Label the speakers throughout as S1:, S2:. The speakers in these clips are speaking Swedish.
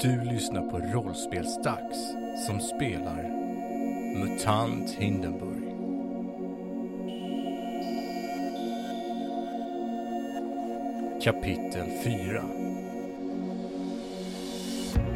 S1: Du lyssnar på Rollspelsdags som spelar MUTANT Hindenburg. Kapitel 4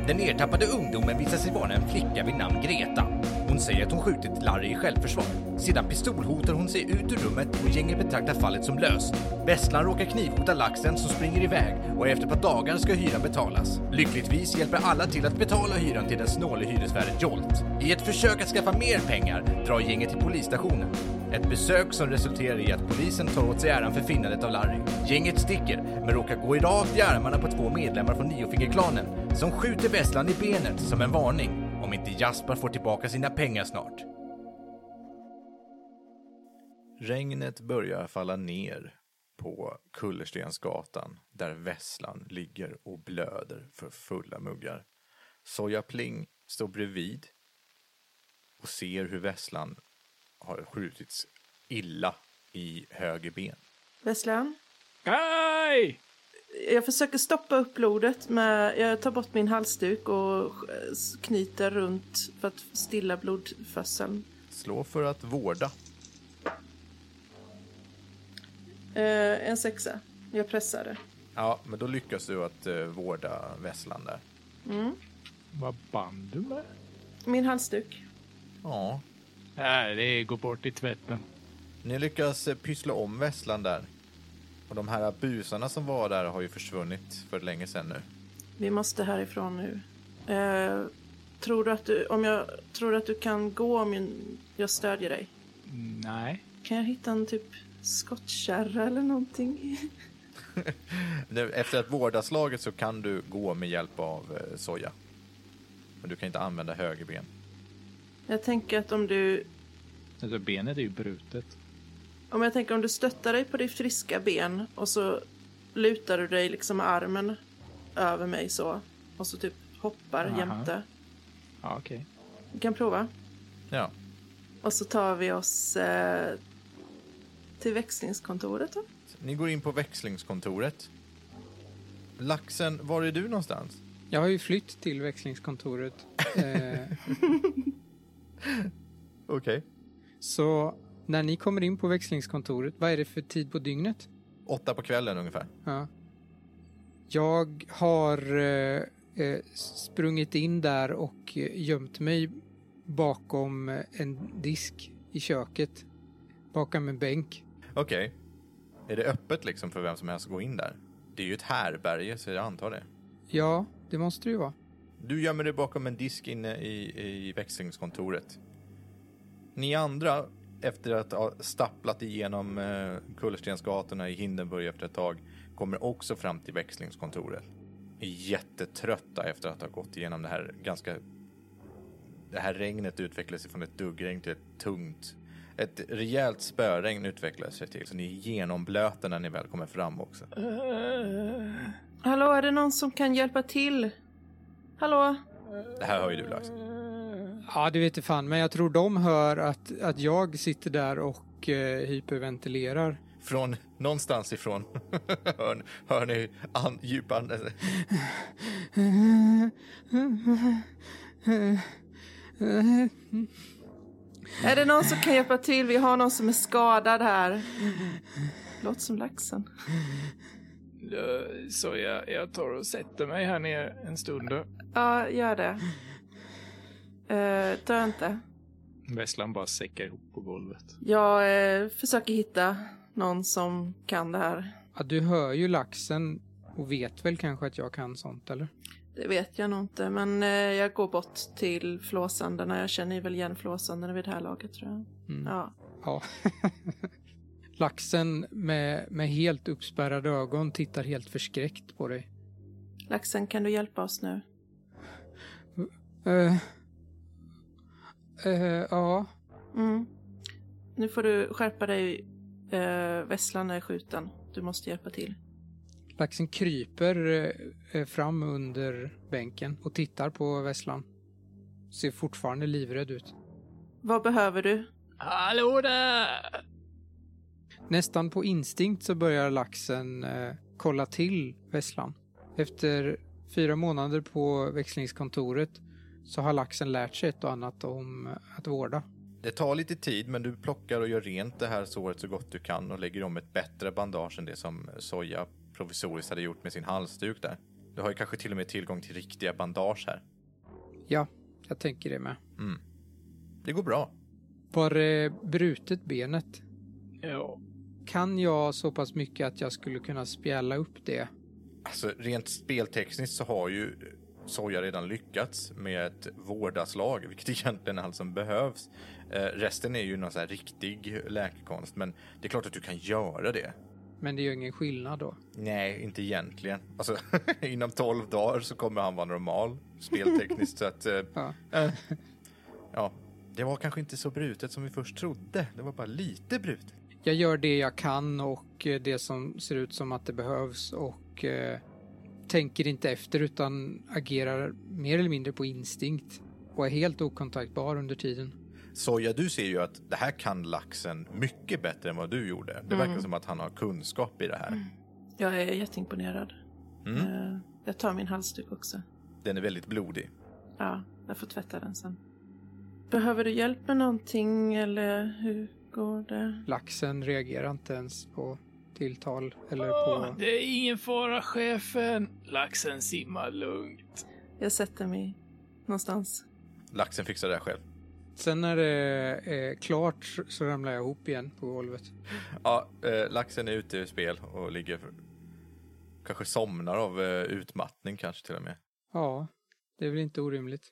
S2: Den ertappade ungdomen visar sig vara en flicka vid namn Greta. Hon säger att hon skjutit Larry i självförsvar. Sedan pistolhotar hon sig ut ur rummet och gänget betraktar fallet som löst. Vesslan råkar knivhota laxen som springer iväg och efter ett par dagar ska hyran betalas. Lyckligtvis hjälper alla till att betala hyran till den snåle hyresvärden Jolt. I ett försök att skaffa mer pengar drar gänget till polisstationen. Ett besök som resulterar i att polisen tar åt sig äran för finnandet av Larry. Gänget sticker, men råkar gå i rakt i armarna på två medlemmar från Niofingerklanen som skjuter Vesslan i benet som en varning om inte Jasper får tillbaka sina pengar snart.
S3: Regnet börjar falla ner på Kullerstensgatan där Vesslan ligger och blöder för fulla muggar. Soja Pling står bredvid och ser hur Vesslan har skjutits illa i höger ben.
S4: Vesslan,
S5: Hej!
S4: jag försöker stoppa upp blodet med... Jag tar bort min halsduk och eh, s- knyter runt för att stilla blodfösseln.
S3: Slå för att vårda.
S4: Eh, en sexa. Jag pressade.
S3: Ja, men då lyckas du att eh, vårda Vesslan där.
S5: Vad band du med?
S4: Min halsduk.
S3: Ja,
S5: Nej, det går bort i tvätten.
S3: ni lyckas eh, pyssla om Vesslan där. Och de här busarna som var där har ju försvunnit för länge sedan nu.
S4: Vi måste härifrån nu. Eh, tror, du att du, om jag, tror du att du kan gå om jag- jag stödjer dig?
S5: Nej.
S4: Kan jag hitta en typ skottkärra eller någonting?
S3: Nu, efter att vårdaslaget så kan du gå med hjälp av eh, soja. Men du kan inte använda högerben.
S4: Jag tänker att om du
S5: Alltså benet är ju brutet.
S4: Om jag tänker om du stöttar dig på ditt friska ben och så lutar du dig liksom med armen över mig så och så typ hoppar
S5: Aha.
S4: jämte.
S5: Ja, okej.
S4: Vi kan prova.
S3: Ja,
S4: Och så tar vi oss eh, till växlingskontoret då.
S3: ni går in på växlingskontoret. Laxen, var är du någonstans?
S6: Jag har ju flytt till växlingskontoret. Eh,
S3: Okej.
S6: så när ni kommer in på växlingskontoret, vad är det för tid på dygnet?
S3: Åtta på kvällen ungefär.
S6: Ja. Jag har eh, eh, sprungit in där och eh, gömt mig bakom eh, en disk i köket. Bakom en bänk.
S3: Okej. Är det öppet liksom för vem som helst att gå in där? Det är ju ett härberge, så jag antar det.
S6: Ja, det måste det ju vara.
S3: Du gömmer dig bakom en disk inne i, i växlingskontoret. Ni andra, efter att ha stapplat igenom eh, kullerstensgatorna i Hindenburg efter ett tag, kommer också fram till växlingskontoret. Är jättetrötta efter att ha gått igenom det här ganska... Det här regnet utvecklar sig från ett duggregn till ett tungt... Ett rejält spöregn utvecklar sig till, så ni är genomblöta när ni väl kommer fram också.
S4: Hallå, är det någon som kan hjälpa till? Hallå?
S3: Det här har ju du Lax.
S6: Ja, det vet jag fan, men jag tror de hör att, att jag sitter där och eh, hyperventilerar.
S3: Från någonstans ifrån hör, hör ni an, djupa an,
S4: Är det någon som kan hjälpa till? Vi har någon som är skadad här. Låter som laxen.
S5: Så jag, jag tar och sätter mig här ner en stund. då.
S4: Ja, gör det. Eh, dö inte.
S5: Vesslan bara säckar ihop på golvet.
S4: Jag eh, försöker hitta någon som kan det här.
S6: Ja, du hör ju laxen och vet väl kanske att jag kan sånt, eller?
S4: Det vet jag nog inte, men eh, jag går bort till flåsandena. Jag känner ju väl igen flåsandena vid det här laget tror jag.
S6: Mm.
S4: Ja.
S6: Ja. Laxen med, med helt uppspärrade ögon tittar helt förskräckt på dig.
S4: Laxen, kan du hjälpa oss nu?
S6: Eh, eh, ja,
S4: Mm. Nu får du skärpa dig. Eh, Vesslan är skjuten. Du måste hjälpa till.
S6: laxen kryper eh, eh, fram under bänken och tittar på Vesslan. Ser fortfarande livrädd ut.
S4: Vad behöver du?
S5: Hallå där!
S6: Nästan på instinkt så börjar laxen eh, kolla till Vesslan. Efter fyra månader på växlingskontoret så har laxen lärt sig ett och annat om eh, att vårda.
S3: Det tar lite tid, men du plockar och gör rent det här såret så gott du kan och lägger om ett bättre bandage än det som Soja provisoriskt hade gjort med sin halsduk där. Du har ju kanske till och med tillgång till riktiga bandage här.
S6: Ja, jag tänker det med.
S3: Det går bra.
S6: Var det brutet benet?
S5: Ja.
S6: Kan jag så pass mycket att jag skulle kunna spjälla upp det?
S3: Alltså, rent speltekniskt så har ju Soja redan lyckats med ett vårdaslag, vilket egentligen är allt som behövs. Eh, resten är ju någon så här riktig läkekonst, men det är klart att du kan göra det.
S6: Men det gör ingen skillnad då.
S3: Nej, inte egentligen. Alltså, inom 12 dagar så kommer han vara normal speltekniskt. så att, eh,
S6: Ja.
S3: eh, ja, det var kanske inte så brutet som vi först trodde. Det var bara lite brutet.
S6: Jag gör det jag kan och eh, det som ser ut som att det behövs och eh, tänker inte efter utan agerar mer eller mindre på instinkt och är helt okontaktbar under tiden.
S3: Soja, du ser ju att det här kan laxen mycket bättre än vad du gjorde. Det verkar som att han har kunskap i det här.
S4: Jag är jätteimponerad. Eh, Jag tar min halsduk också.
S3: Den är väldigt blodig.
S4: Ja, jag får tvätta den sen. Behöver du hjälp med någonting eller hur går det?
S6: Laxen reagerar inte ens på tilltal eller på...
S5: Det är ingen fara, chefen. Laxen simmar lugnt.
S4: Jag sätter mig någonstans.
S3: Laxen fixar det här själv.
S6: Sen när det är klart så ramlar jag ihop igen på golvet.
S3: Ja, eh, laxen är ute ur spel och ligger... För... Kanske somnar av eh, utmattning kanske till och med.
S6: Ja, det är väl inte orimligt.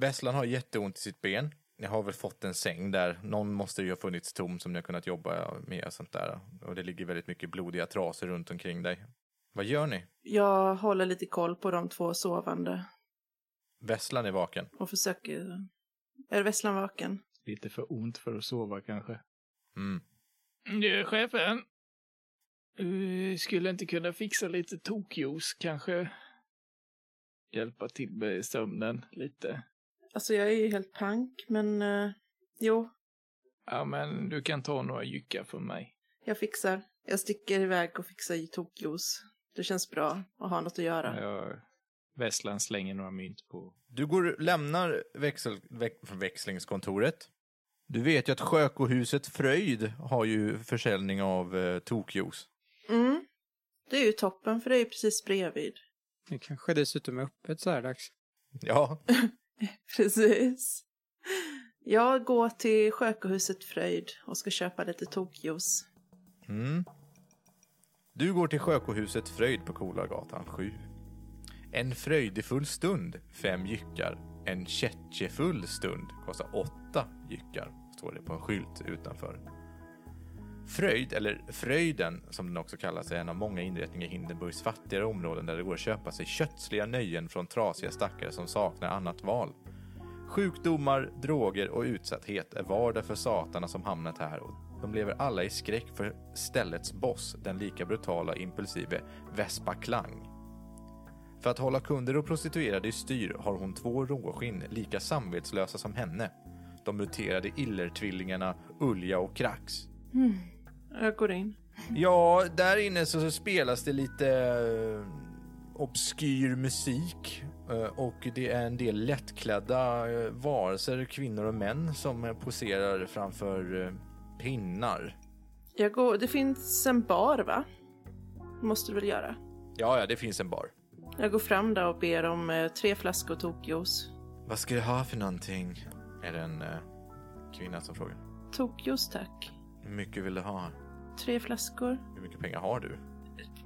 S3: Vesslan har jätteont i sitt ben. Ni har väl fått en säng där. Någon måste ju ha funnits tom som ni har kunnat jobba med och sånt där. Och det ligger väldigt mycket blodiga trasor runt omkring dig. Vad gör ni?
S4: Jag håller lite koll på de två sovande
S3: Vesslan är vaken.
S4: och försöker... Är Vesslan vaken?
S5: Lite för ont för att sova kanske.
S3: Mm.
S5: Du, chefen. Eh, Skulle inte kunna fixa lite tokjuice kanske? Hjälpa till med sömnen lite.
S4: Alltså jag är ju helt pank, men eh, jo,
S5: Ja, men du kan ta några jyckar för mig.
S4: jag fixar. Jag sticker iväg och fixar i tokjuice. Det känns bra att ha något att göra.
S5: Jag... Vesslan slänger några mynt på.
S3: Du går, lämnar växel, väx, växlingskontoret. Du vet ju att Sjökohuset Fröjd har ju försäljning av eh, tokjuice.
S4: Mm. Det är ju toppen, för det är ju precis bredvid.
S6: Det kanske dessutom är öppet så här dags.
S3: Ja,
S4: Precis. Jag går till Sjökohuset Fröjd och ska köpa lite tokjuice.
S3: Mm. Du går till Sjökohuset Fröjd på Kolagatan 7. En fröjdefull stund, fem gyckar. En kättjefull stund kostar åtta gyckar, står det på en skylt utanför. Fröjd, eller Fröjden som den också kallas, är en av många inrättningar i Hindenburgs fattigare områden där det går att köpa sig kötsliga nöjen från trasiga stackare som saknar annat val. Sjukdomar, droger och utsatthet är vardag för satarna som hamnat här och de lever alla i skräck för ställets boss, den lika brutala och impulsive Vespa Klang. För att hålla kunder och prostituerade i styr har hon två råskinn lika samvetslösa som henne. De muterade illertvillingarna Ulja och Krax.
S4: Jag går in.
S3: Ja, där inne så, så spelas det lite eh, obskyr musik eh, och det är en del lättklädda eh, varelser, kvinnor och män som eh, poserar framför eh, pinnar.
S4: Jag går, det finns en bar, va? Måste du väl göra?
S3: Ja, ja, det finns en bar.
S4: Jag går fram där och ber om eh, tre flaskor tokjuice.
S3: Vad ska du ha för någonting? Är det en eh, kvinna som frågar.
S4: Tokjuice, tack.
S3: Hur mycket vill du ha?
S4: Tre flaskor,
S3: Hur mycket pengar har du?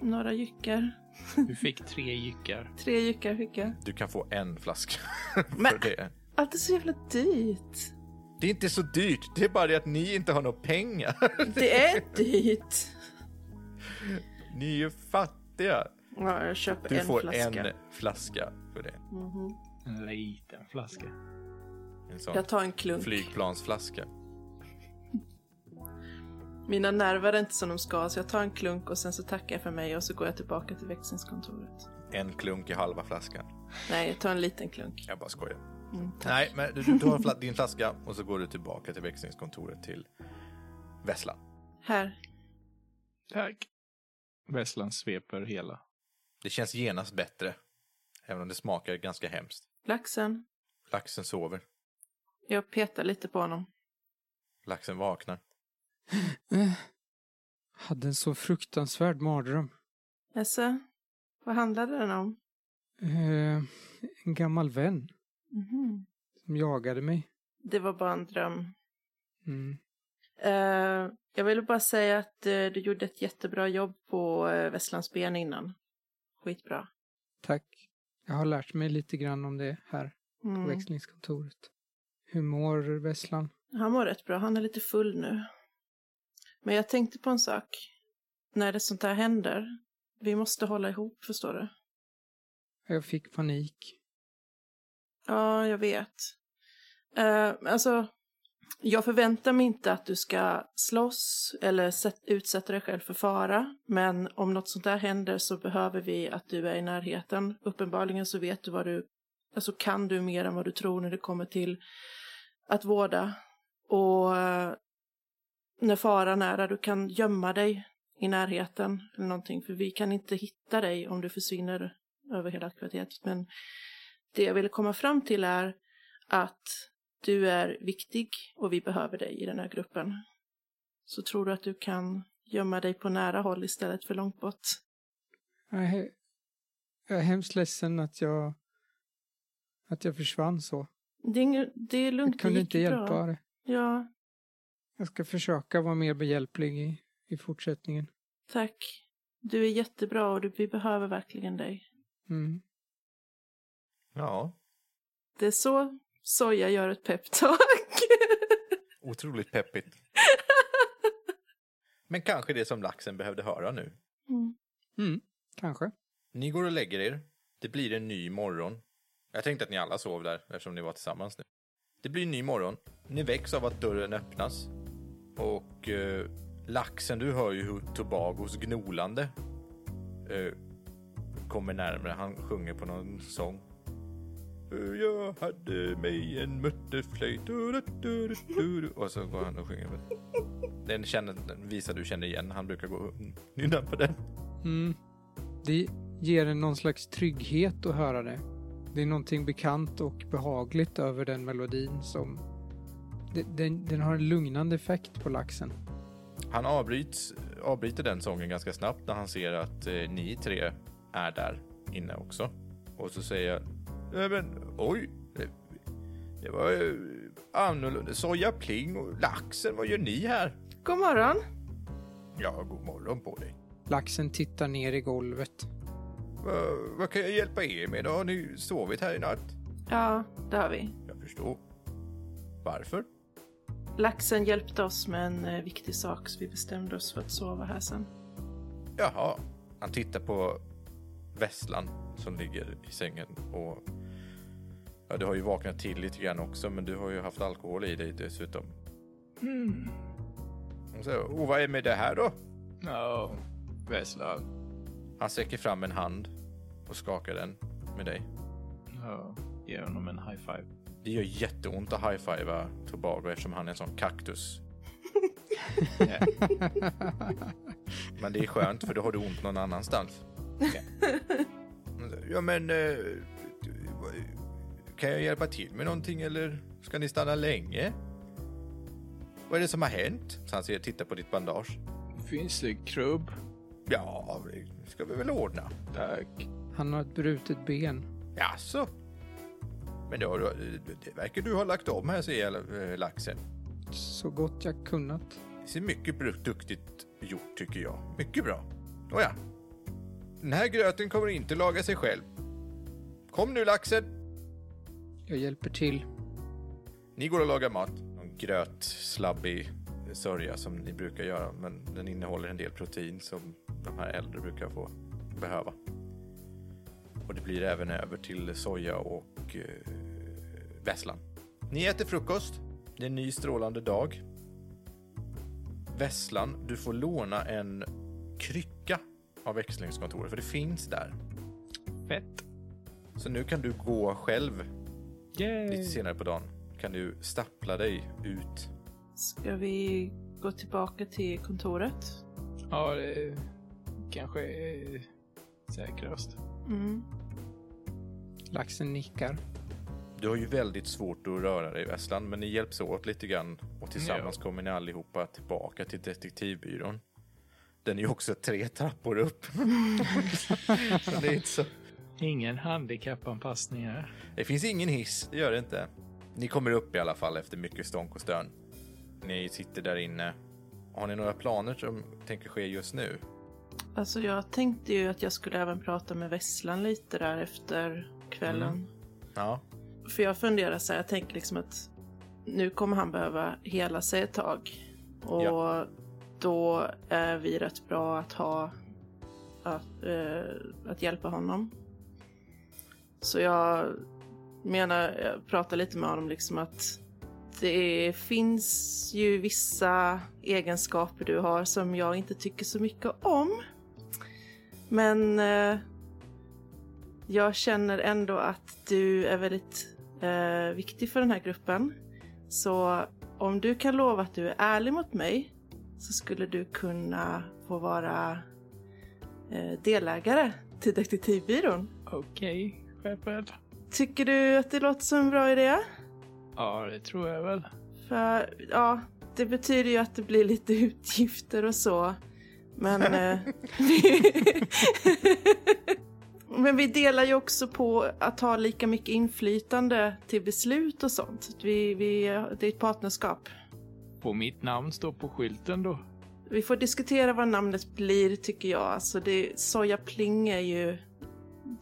S4: några jyckar.
S5: Du fick tre jyckar.
S4: Tre jyckar fick jag.
S3: Du kan få en flaska.
S4: Men-
S3: för det.
S4: Allt är så jävla dyrt.
S3: det är inte så dyrt, det är bara det att ni inte har några pengar.
S4: Det är dyrt.
S3: ni är ju fattiga.
S4: Ja, jag köper
S3: Du
S4: en
S3: får
S4: flaska.
S3: en eh, flaska för det.
S5: En liten flaska.
S3: En sån
S4: Jag tar en klunk.
S3: flygplansflaska.
S4: Mina nerver är inte som de ska, så jag tar en klunk och sen så tackar jag för mig och så går jag tillbaka till växlingskontoret.
S3: En klunk i halva flaskan.
S4: Nej, jag tar en liten klunk.
S3: Jag bara skojar.
S4: Mm,
S3: Nej, men du- du tar fla- din flaska och så går du tillbaka till växlingskontoret till Vesslan.
S4: Här.
S5: Tack. Vesslan sveper hela.
S3: Det känns genast bättre Även om det smakar ganska hemskt.
S4: Laxen.
S3: Laxen sover.
S4: Jag petar lite på honom.
S3: Laxen vaknar.
S6: Hade en så fruktansvärd mardröm.
S4: Jaså? Alltså, Vad handlade den om?
S6: Eh, en gammal vän
S4: Mhm.
S6: som jagade mig.
S4: Det var bara en dröm.
S6: Mm.
S4: Eh, jag ville bara säga att eh, du gjorde ett jättebra jobb på uh, Västlands ben innan. Skitbra.
S6: Tack. Jag har lärt mig lite grann om det här på
S4: Mm.
S6: växlingskontoret. Hur mår Vesslan?
S4: Han mår rätt bra. Han är lite full nu. Men jag tänkte på en sak. När det sånt här händer, vi måste hålla ihop, förstår du?
S6: Jag fick panik.
S4: Ja, jag vet. Eh, alltså, jag förväntar mig inte att du ska slåss eller sätt, utsätta dig själv för fara. Men om något sånt där händer så behöver vi att du är i närheten. Uppenbarligen så vet du vad du... Alltså kan du mer än vad du tror när det kommer till att vårda. Och eh, när faran är där, du kan gömma dig i närheten eller någonting. För vi kan inte hitta dig om du försvinner över hela kvarteret. Men det jag ville komma fram till är att du är viktig och vi behöver dig i den här gruppen. Så tror du att du kan gömma dig på nära håll istället för långt bort?
S6: Jag är, he- jag är hemskt ledsen att jag, att jag försvann så.
S4: Det är, inget, det är lugnt,
S6: Jag kunde
S4: det
S6: inte
S4: gick
S6: hjälpa
S4: bra.
S6: det.
S4: Ja,
S6: Jag ska försöka vara mer behjälplig i, i fortsättningen.
S4: tack. Du är jättebra och du, vi behöver verkligen dig.
S6: Mm.
S3: Ja,
S4: Det är så Soja gör ett peptalk.
S3: otroligt peppigt. Men kanske det som laxen behövde höra nu.
S4: mm.
S6: Mm. Kanske.
S3: Ni går och lägger er. Det blir en ny morgon. Jag tänkte att ni alla sov där eftersom ni var tillsammans nu. Det blir en ny morgon. Ni väcks av att dörren öppnas. Och eh, laxen, du hör ju hur Tobagos gnolande eh, kommer närmare. Han sjunger på någon sång. Eh, Jag hade mig en mörterflöjt. Du, du, du, du, du. Och så går han och sjunger. Den, känner, den visar du känner igen. Han brukar gå och nynna på den.
S6: Mm. Det ger en någon slags trygghet att höra det. Det är någonting bekant och behagligt över den melodin som... Den, den, den har en lugnande effekt på laxen.
S3: Han avbryts, avbryter den sången ganska snabbt när han ser att eh, ni tre är där inne också. Och så säger jag, nej men oj, det, det var ju annorlunda. Soja Pling och laxen, vad gör ni här?
S4: God morgon.
S3: Ja, god morgon på dig.
S6: Laxen tittar ner i golvet.
S3: Va- vad kan jag hjälpa er med? Har ni sovit här i natt?
S4: Ja, det har vi.
S3: Jag förstår. Varför?
S4: Laxen hjälpte oss med en eh, viktig sak så vi bestämde oss för att sova här sen.
S3: Jaha. Han tittar på vässlan som ligger i sängen och ja, du har ju vaknat till lite grann också men du har ju haft alkohol i dig dessutom.
S5: Mm.
S3: Och så, oh, vad är med det här då?
S5: Ja, Vesslan.
S3: Han sträcker fram en hand och skakar den med dig.
S5: Ja, ge honom en high five.
S3: Det gör jätteont att high-fivea Tobago eftersom han är en sån kaktus.
S5: Ja.
S3: Men det är skönt för då har du ont någon annanstans. Han säger, Ja men... eh, Kan jag hjälpa till med någonting eller ska ni stanna länge? Vad är det som har hänt? Så han ser, tittar på ditt bandage.
S5: Finns det krubb?
S3: Ja, det ska vi väl ordna.
S5: Tack.
S6: Han har ett brutet ben.
S3: Jaså? Men det, har du- det verkar du ha lagt om här ser jag, eh, laxen.
S6: Så gott jag kunnat.
S3: Det ser mycket bru- duktigt gjort tycker jag. Mycket bra. Nåja. Den här gröten kommer inte laga sig själv. Kom nu laxen!
S6: Jag hjälper till.
S3: Ni går och lagar mat. Någon gröt, slabbig sörja som ni brukar göra, men den innehåller en del protein som de här äldre brukar få behöva. Och det blir även över till soja och eh, vässlan. Ni äter frukost. Det är en ny strålande dag. Vässlan, du får låna en krycka av växlingskontoret, för det finns där.
S5: Fett.
S3: Så nu kan du gå själv
S5: Yay.
S3: lite senare på dagen. Kan du stappla dig ut
S4: Ska vi gå tillbaka till kontoret?
S5: Ja, eh, det kanske är säkrast.
S4: Mm.
S6: Laxen nickar.
S3: Du har ju väldigt svårt att röra dig Vesslan, men ni hjälps åt lite grann och tillsammans kommer ni allihopa tillbaka till detektivbyrån. Den är ju också tre trappor upp. så det, är inte så.
S5: Ingen handikappanpassning här.
S3: det finns ingen hiss, det gör det inte. Ni kommer upp i alla fall efter mycket stånk och stön. Ni sitter där inne. Har ni några planer som tänker ske just nu?
S4: Alltså jag tänkte ju att jag skulle även prata med Vesslan lite där efter kvällen.
S3: Ja,
S4: För jag funderar så här, jag tänker liksom att nu kommer han behöva hela sig ett tag. Och
S3: Ja.
S4: då är vi rätt bra att ha, att, eh, att hjälpa honom. Så jag menar, jag pratar lite med honom liksom att det finns ju vissa egenskaper du har som jag inte tycker så mycket om. Men eh, jag känner ändå att du är väldigt eh, viktig för den här gruppen. Så om du kan lova att du är ärlig mot mig så skulle du kunna få vara eh, delägare till Detektivbyrån.
S5: Okej, Shepard.
S4: Tycker du att det låter som en bra idé?
S5: Ja, det tror jag väl.
S4: För ja, det betyder ju att det blir lite utgifter och så. Men, eh, vi... Men vi delar ju också på att ha lika mycket inflytande till beslut och sånt. Vi, vi, det är ett partnerskap.
S5: Får mitt namn stå på skylten då?
S4: Vi får diskutera vad namnet blir tycker jag. Alltså det, soja pling är ju...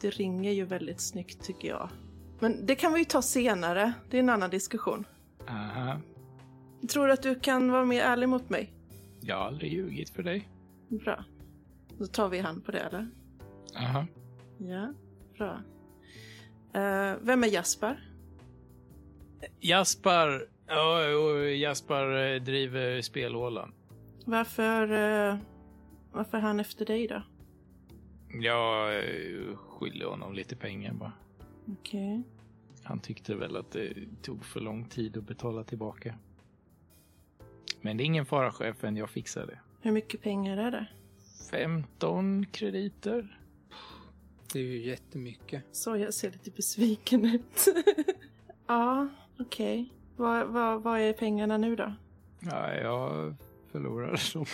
S4: Det ringer ju väldigt snyggt tycker jag. Men det kan vi ju ta senare. Det är en annan diskussion.
S5: Aha.
S4: Tror du att du kan vara mer ärlig mot mig?
S5: Jag har aldrig ljugit för dig.
S4: Bra. Då tar vi hand på det, eller?
S5: Aha.
S4: Ja, bra. Eh, vem är Jasper?
S5: Jasper. Ja, och Jasper eh, driver spelhålan.
S4: Varför, eh, varför är han efter dig då?
S5: Jag eh, skyller honom lite pengar bara.
S4: Okej.
S5: Han tyckte väl att det tog för lång tid att betala tillbaka. Men det är ingen fara chefen, jag fixar det.
S4: Hur mycket pengar är det?
S5: 15 krediter?
S6: Det är ju jättemycket.
S4: Så jag ser lite besviken ut. ja, okej. Vad vad- vad är pengarna nu då?
S5: Ja, jag förlorade dem.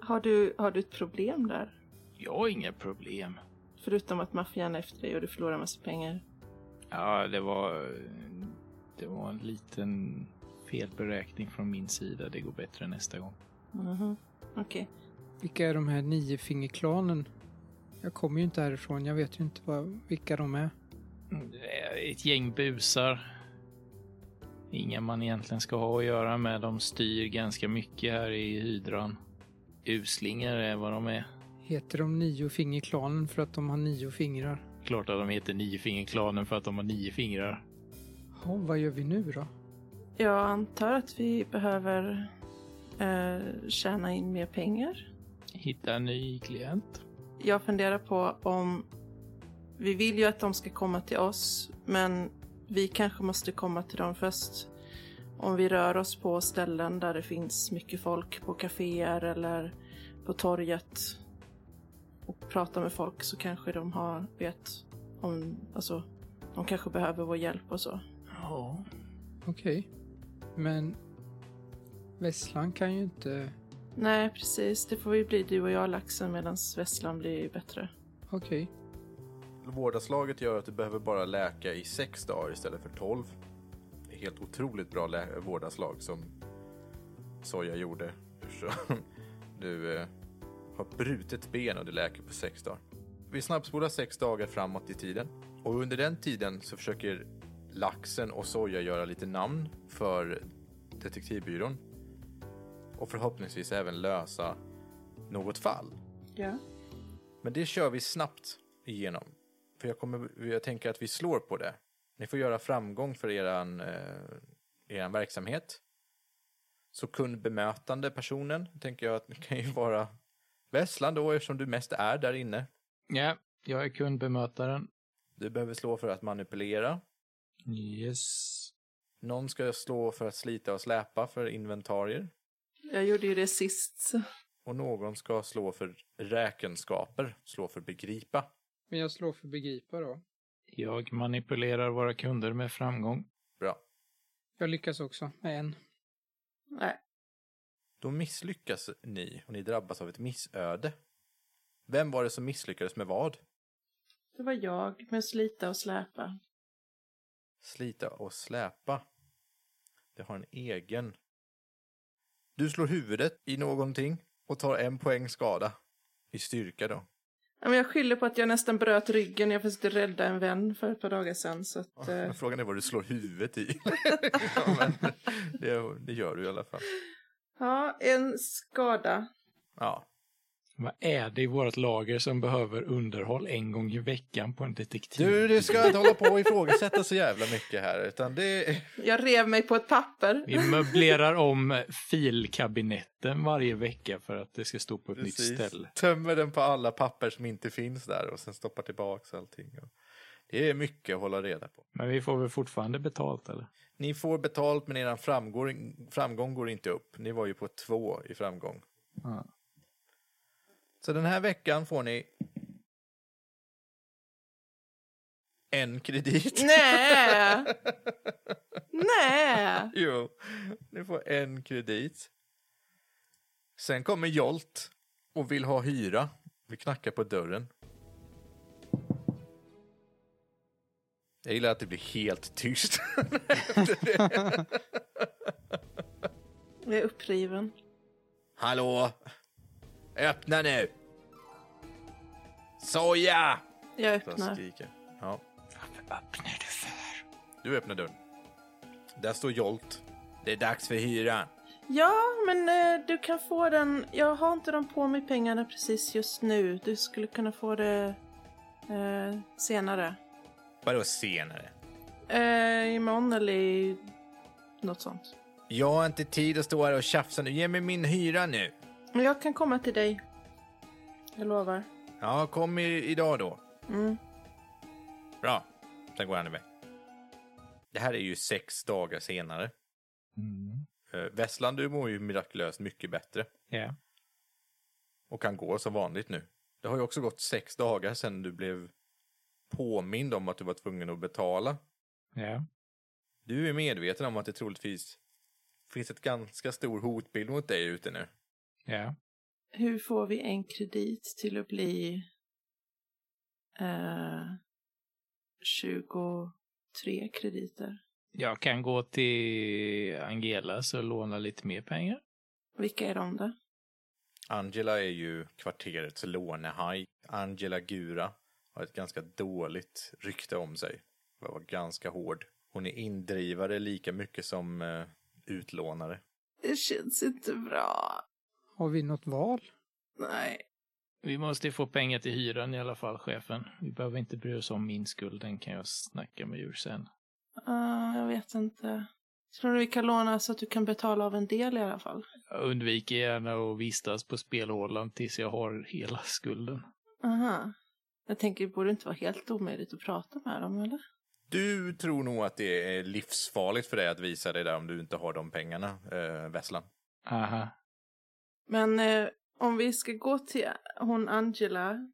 S4: Har du, har du ett problem där?
S5: Jag har inga problem.
S4: Förutom att maffian är efter dig och du förlorar massa pengar.
S5: Ja, det var... Det var en liten felberäkning från min sida. Det går bättre nästa gång.
S4: Mhm. Okej.
S6: Vilka är de här niofingerklanen? Jag kommer ju inte härifrån. Jag vet ju inte vad, vilka de är.
S5: Mm, Det är Ett gäng busar. Inga man egentligen ska ha att göra med. De styr ganska mycket här i hydran. Uslingar är vad de är.
S6: Heter de niofingerklanen för att de har nio fingrar?
S5: Klart att de heter Niofingerklanen för att de har nio fingrar.
S6: Ja, vad gör vi nu då?
S4: Jag antar att vi behöver eh, tjäna in mer pengar.
S5: Hitta en ny klient.
S4: Jag funderar på om... Vi vill ju att de ska komma till oss, men vi kanske måste komma till dem först. Om vi rör oss på ställen där det finns mycket folk, på kaféer eller på torget och pratar med folk så kanske de har, vet om, alltså, de kanske behöver vår hjälp och så.
S5: Ja.
S6: Okej. Men Vesslan kan ju inte...
S4: Nej, precis. Det får ju bli du och jag, laxen, medan Vesslan blir bättre.
S6: Okej.
S3: Vårdaslaget gör att du behöver bara läka i sex dagar istället för tolv. Det är helt otroligt bra lä- vårdaslag som Soja gjorde. Så Du eh, har brutit ben och du läker på sex dagar. Vi snabbspolar sex dagar framåt i tiden. Och under den tiden så försöker Laxen och Soja göra lite namn för Detektivbyrån. Och förhoppningsvis även lösa något fall.
S4: Ja.
S3: Men det kör vi snabbt igenom. För jag, kommer, jag tänker att vi slår på det. Ni får göra framgång för eran, eh, eran verksamhet. Så kundbemötande personen tänker jag att det kan ju vara Vesslan då eftersom du mest är där inne.
S5: Ja, jag är kundbemötaren.
S3: Du behöver slå för att manipulera.
S5: Yes.
S3: Någon ska slå för att slita och släpa för inventarier.
S4: Jag gjorde ju det sist. så-
S3: Och någon ska slå för räkenskaper, slå för begripa.
S6: Men jag slår för begripa då.
S5: Jag manipulerar våra kunder med framgång.
S3: Bra.
S6: Jag lyckas också med en.
S4: Nej.
S3: Då misslyckas ni och ni drabbas av ett missöde. Vem var det som misslyckades med vad?
S4: Det var jag med slita och släpa.
S3: Slita och släpa. Det har en egen. Du slår huvudet i någonting och tar en poäng skada. I styrka då.
S4: Ja, men jag skyller på att jag nästan bröt ryggen när jag försökte rädda en vän för ett par dagar sedan. Så att, eh,
S3: Men frågan är vad du slår huvudet i. ja, men det, det gör du i alla fall.
S4: ja, en skada.
S3: Ja,
S5: Vad är det i vårt lager som behöver underhåll en gång i veckan på en detektiv?
S3: Du, du ska inte hålla på och ifrågasätta så jävla mycket här, utan det är...
S4: Jag rev mig på ett papper.
S5: Vi möblerar om filkabinetten varje vecka för att det ska stå på ett nytt ställe.
S3: Tömmer den på alla papper som inte finns där och sen stoppar tillbaks allting. Och Det är mycket att hålla reda på.
S5: Men vi får väl fortfarande betalt eller?
S3: Ni får betalt men er framgång, framgång går inte upp. Ni var ju på två i framgång.
S5: Ja.
S3: Så den här veckan får ni en kredit.
S4: Nej! Nej!
S3: Jo, ni får en kredit. Sen kommer Jolt och vill ha hyra. Vi knackar på dörren. Jag gillar att det blir helt tyst.
S4: Jag är uppriven.
S3: Hallå? Öppna nu! Soja!
S4: Jag
S3: Så han
S4: öppnar.
S3: skriker. Ja,
S5: Öppnar du för?
S3: du öppnar dörren. Där står Jolt. Det är dags för hyran.
S4: Ja, men eh, du kan få den. Jag har inte dem på mig pengarna precis just nu. Du skulle kunna få det eh, senare.
S3: Vadå senare?
S4: Eh, imorgon eller i något sånt.
S3: Jag har inte tid att stå här och tjafsa nu. Ge mig min hyra nu.
S4: Men jag kan komma till dig. Jag lovar.
S3: Ja, kom i, idag då.
S4: Mm.
S3: Bra. Sen går han iväg. Det här är ju sex dagar senare.
S5: Mm.
S3: Eh, Vesslan, du mår ju mirakulöst mycket bättre
S5: Ja.
S3: och kan gå som vanligt nu. Det har ju också gått sex dagar sedan du blev påmind om att du var tvungen att betala.
S5: Ja.
S3: Du är medveten om att det troligtvis finns ett ganska stor hotbild mot dig ute nu.
S5: Ja.
S4: Hur får vi en kredit till att bli eh, 23 krediter?
S5: Jag kan gå till Angelas och låna lite mer pengar.
S4: Vilka är de då?
S3: Angela är ju kvarterets lånehaj. Angela Gura har ett ganska dåligt rykte om sig. Hon var ganska hård. Hon är indrivare lika mycket som eh, utlånare.
S4: Det känns inte bra.
S6: Har vi något val?
S4: Nej.
S5: Vi måste ju få pengar till hyran i alla fall, chefen. Vi behöver inte bry oss om min skuld, den kan jag snacka med ur sen.
S4: Ah, jag vet inte. Tror du vi kan låna så att du kan betala av en del i alla fall?
S5: Jag undviker gärna att vistas på spelhålan tills jag har hela skulden.
S4: Aha. Jag tänker, det borde inte vara helt omöjligt att prata med dem, eller?
S3: Du tror nog att det är livsfarligt för dig att visa dig där om du inte har de pengarna, eh, Vesslan.
S5: Aha.
S4: Men eh, om vi ska gå till hon Angela,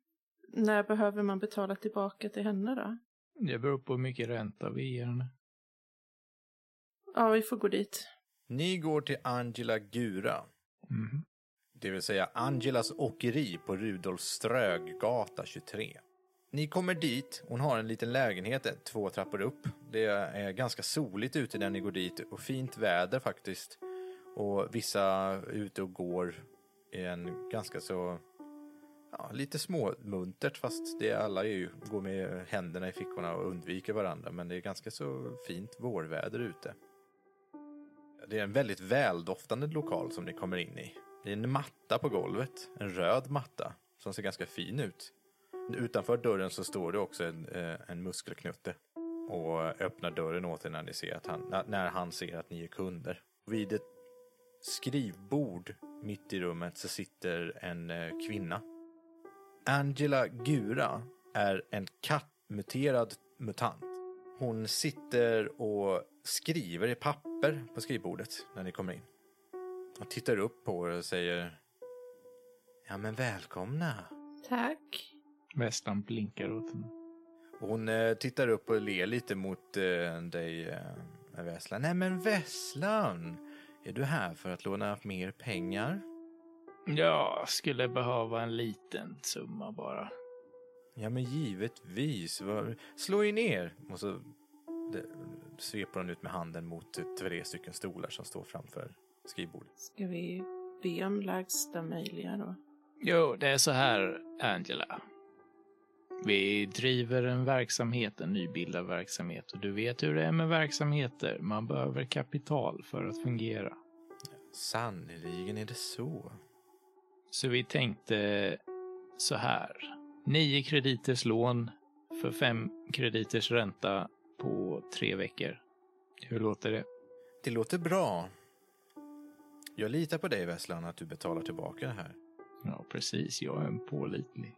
S4: när behöver man betala tillbaka till henne då?
S5: Det beror på hur mycket ränta vi ger henne.
S4: Ja, vi får gå dit.
S3: Ni går till Angela Gura,
S5: Mhm.
S3: det vill säga Angelas åkeri på Rudolf Ströggata 23. Ni kommer dit, hon har en liten lägenhet eh, två trappor upp. Det är ganska soligt ute när ni går dit och fint väder faktiskt. Och vissa är ute och går i en ganska så, ja, lite småmuntert fast det är alla är ju, går med händerna i fickorna och undviker varandra. Men det är ganska så fint vårväder ute. Det är en väldigt väldoftande lokal som ni kommer in i. Det är en matta på golvet, en röd matta som ser ganska fin ut. Utanför dörren så står det också en, eh, en muskelknutte och öppnar dörren åt er när, ni ser att han, na- när han ser att ni är kunder. Vid ett skrivbord mitt i rummet så sitter en eh, kvinna. Angela Gura är en kattmuterad mutant. Hon sitter och skriver i papper på skrivbordet när ni kommer in. Hon tittar upp på er och säger Ja men välkomna.
S4: Tack.
S5: Västan blinkar åt henne.
S3: Hon eh, tittar upp och ler lite mot eh, dig, eh, Vesslan. Nej, men Vesslan! Är du här för att låna mer pengar?
S5: Jag skulle behöva en liten summa bara.
S3: Ja, men givetvis. Vad- Slå er ner! Och så det, sveper hon ut med handen mot eh, tre stycken stolar som står framför skrivbordet.
S4: Ska vi be om lägsta möjliga då?
S5: Jo, det är så här, Angela. Vi driver en verksamhet, en nybildad verksamhet. Och du vet hur det är med verksamheter. Man behöver kapital för att fungera.
S3: Sannerligen är det så.
S5: Så vi tänkte så här. Nio krediters lån för fem krediters ränta på tre veckor. Hur låter det?
S3: Det låter bra. Jag litar på dig, Vesslan, att du betalar tillbaka det här.
S5: Ja, precis. Jag är en pålitlig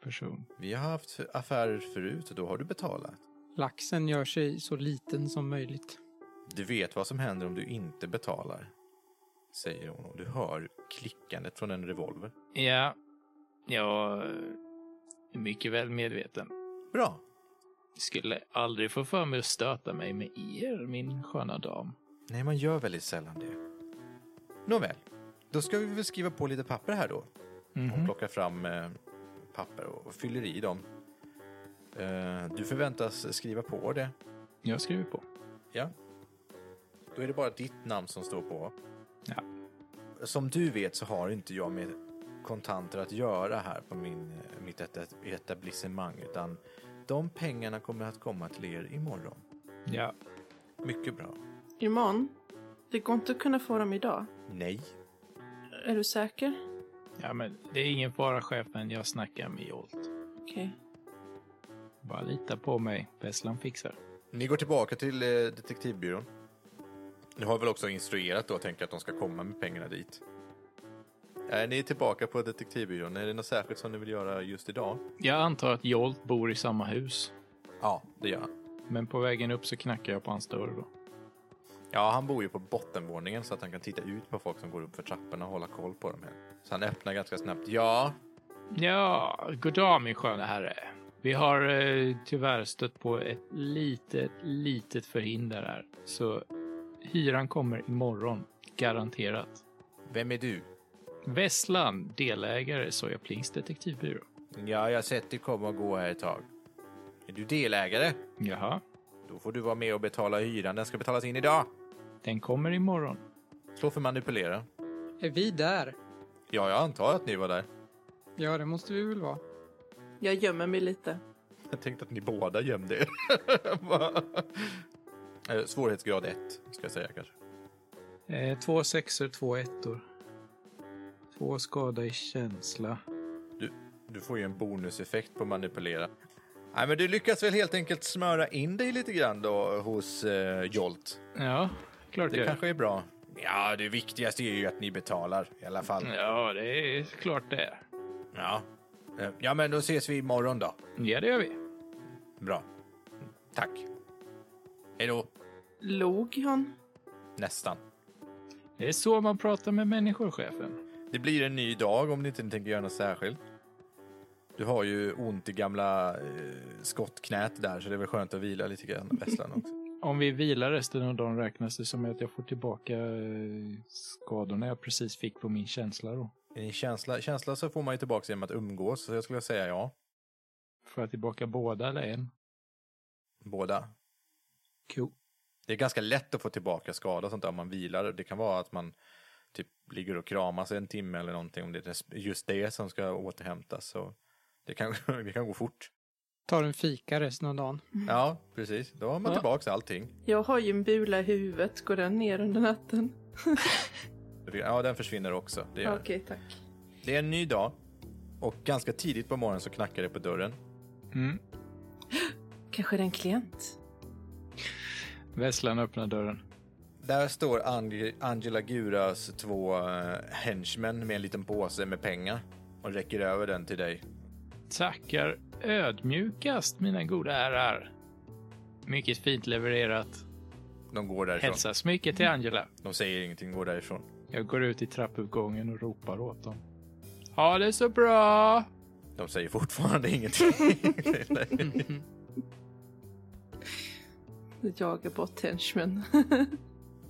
S5: person.
S3: Vi har haft affärer förut och då har du betalat.
S6: Laxen gör sig så liten som möjligt.
S3: Du vet vad som händer om du inte betalar, säger hon och du hör klickandet från en revolver.
S5: Ja, jag är mycket väl medveten.
S3: Bra.
S5: Skulle aldrig få för mig att stöta mig med er, min sköna dam.
S3: Nej, man gör väldigt sällan det. Nåväl, då ska vi väl skriva på lite papper här då. Hon
S5: Mhm.
S3: plockar fram eh, papper och och fyller i dem. Eh, du förväntas skriva på det.
S5: Jag skriver på.
S3: Ja. Då är det bara ditt namn som står på.
S5: Ja.
S3: Som du vet så har inte jag med kontanter att göra här på min, eh, mitt eta- etablissemang utan de pengarna kommer att komma till er imorgon.
S5: Ja,
S3: Mycket bra.
S4: Imorgon? Det går inte att kunna få dem idag.
S3: Nej.
S4: Är du säker?
S5: ja, men det är ingen fara, chefen. Jag snackar med Jolt.
S4: Okej.
S5: Bara lita på mig. Besslan fixar.
S3: Ni går tillbaka till eh, detektivbyrån. Ni har väl också instruerat då och tänker att de ska komma med pengarna dit. Är ni tillbaka på detektivbyrån? Är det något särskilt som ni vill göra just idag?
S5: Jag antar att Jolt bor i samma hus.
S3: Ja, det gör han.
S5: Men på vägen upp så knackar jag på hans dörr då.
S3: Ja, han bor ju på bottenvåningen så att han kan titta ut på folk som går upp för trapporna och hålla koll på dem. Här. Så han öppnar ganska snabbt. Ja,
S5: Ja, goddag min sköna herre. Vi har eh, tyvärr stött på ett litet, litet förhinder här. Så hyran kommer imorgon, garanterat.
S3: vem är du?
S5: Vesslan, delägare Soja Plings detektivbyrå.
S3: Ja, jag har sett dig komma och gå här ett tag. Är du delägare?
S5: Jaha,
S3: Då får du vara med och betala hyran. Den ska betalas in idag.
S5: den kommer imorgon.
S3: Slå för manipulera.
S6: Är vi där?
S3: Ja, jag antar att ni var där.
S6: Ja, det måste vi väl vara.
S4: Jag gömmer mig lite.
S3: Jag tänkte att ni båda gömde er. Eh, Svårighetsgrad 1, ska jag säga kanske.
S5: Eh, två sexor, två ettor. Två skada i känsla.
S3: Du, du får ju en bonuseffekt på manipulera. Nej, men du lyckas väl helt enkelt smöra in dig lite grann då hos eh, Jolt.
S5: Ja, klart
S3: Det
S5: jag
S3: kanske är bra. Ja, det viktigaste är ju att ni betalar i alla fall.
S5: Ja, det är klart det är.
S3: Ja. Eh, Ja, men då ses vi imorgon då.
S5: Ja, det gör vi.
S3: Bra. Tack. Hej då.
S4: Log han?
S3: Nästan.
S5: Det är så man pratar med människor, chefen.
S3: Det blir en ny dag om ni inte tänker göra något särskilt. Du har ju ont i gamla eh, skottknät där, så det är väl skönt att vila lite grann, Vesslan också.
S5: Om vi vilar resten av dagen räknas det som att jag får tillbaka eh, skadorna jag precis fick på min känsla då.
S3: I känsla, känsla så får man ju tillbaka genom att umgås, så jag skulle säga ja.
S5: Får jag tillbaka båda eller en?
S3: Båda.
S5: Cool.
S3: Det är ganska lätt att få tillbaka skada och sånt där om man vilar. Det kan vara att man typ ligger och kramas en timme eller någonting om det är just det som ska återhämtas. Så det kan, det kan gå fort.
S6: Tar en fika resten av dagen.
S3: Ja, precis. Då har man
S5: Ja.
S3: tillbaka allting.
S4: Jag har ju en bula i huvudet. Går den ner under natten?
S3: Ja, den försvinner också. Det gör den.
S4: Okej, tack.
S3: Det är en ny dag och ganska tidigt på morgonen så knackar det på dörren.
S5: Mm.
S4: Kanske är det en klient?
S5: Vesslan öppnar dörren.
S3: Där står Ang- Angela Guras två eh, henchmen med en liten påse med pengar och räcker över den till dig.
S5: Tackar ödmjukast, mina goda herrar. Mycket fint levererat.
S3: De går därifrån.
S5: Hälsas mycket till Angela.
S3: De säger ingenting, går därifrån.
S5: Jag går ut i trappuppgången och ropar åt dem. Ha det så bra!
S3: De säger fortfarande ingenting. till dig.
S4: jagar bort henchmen.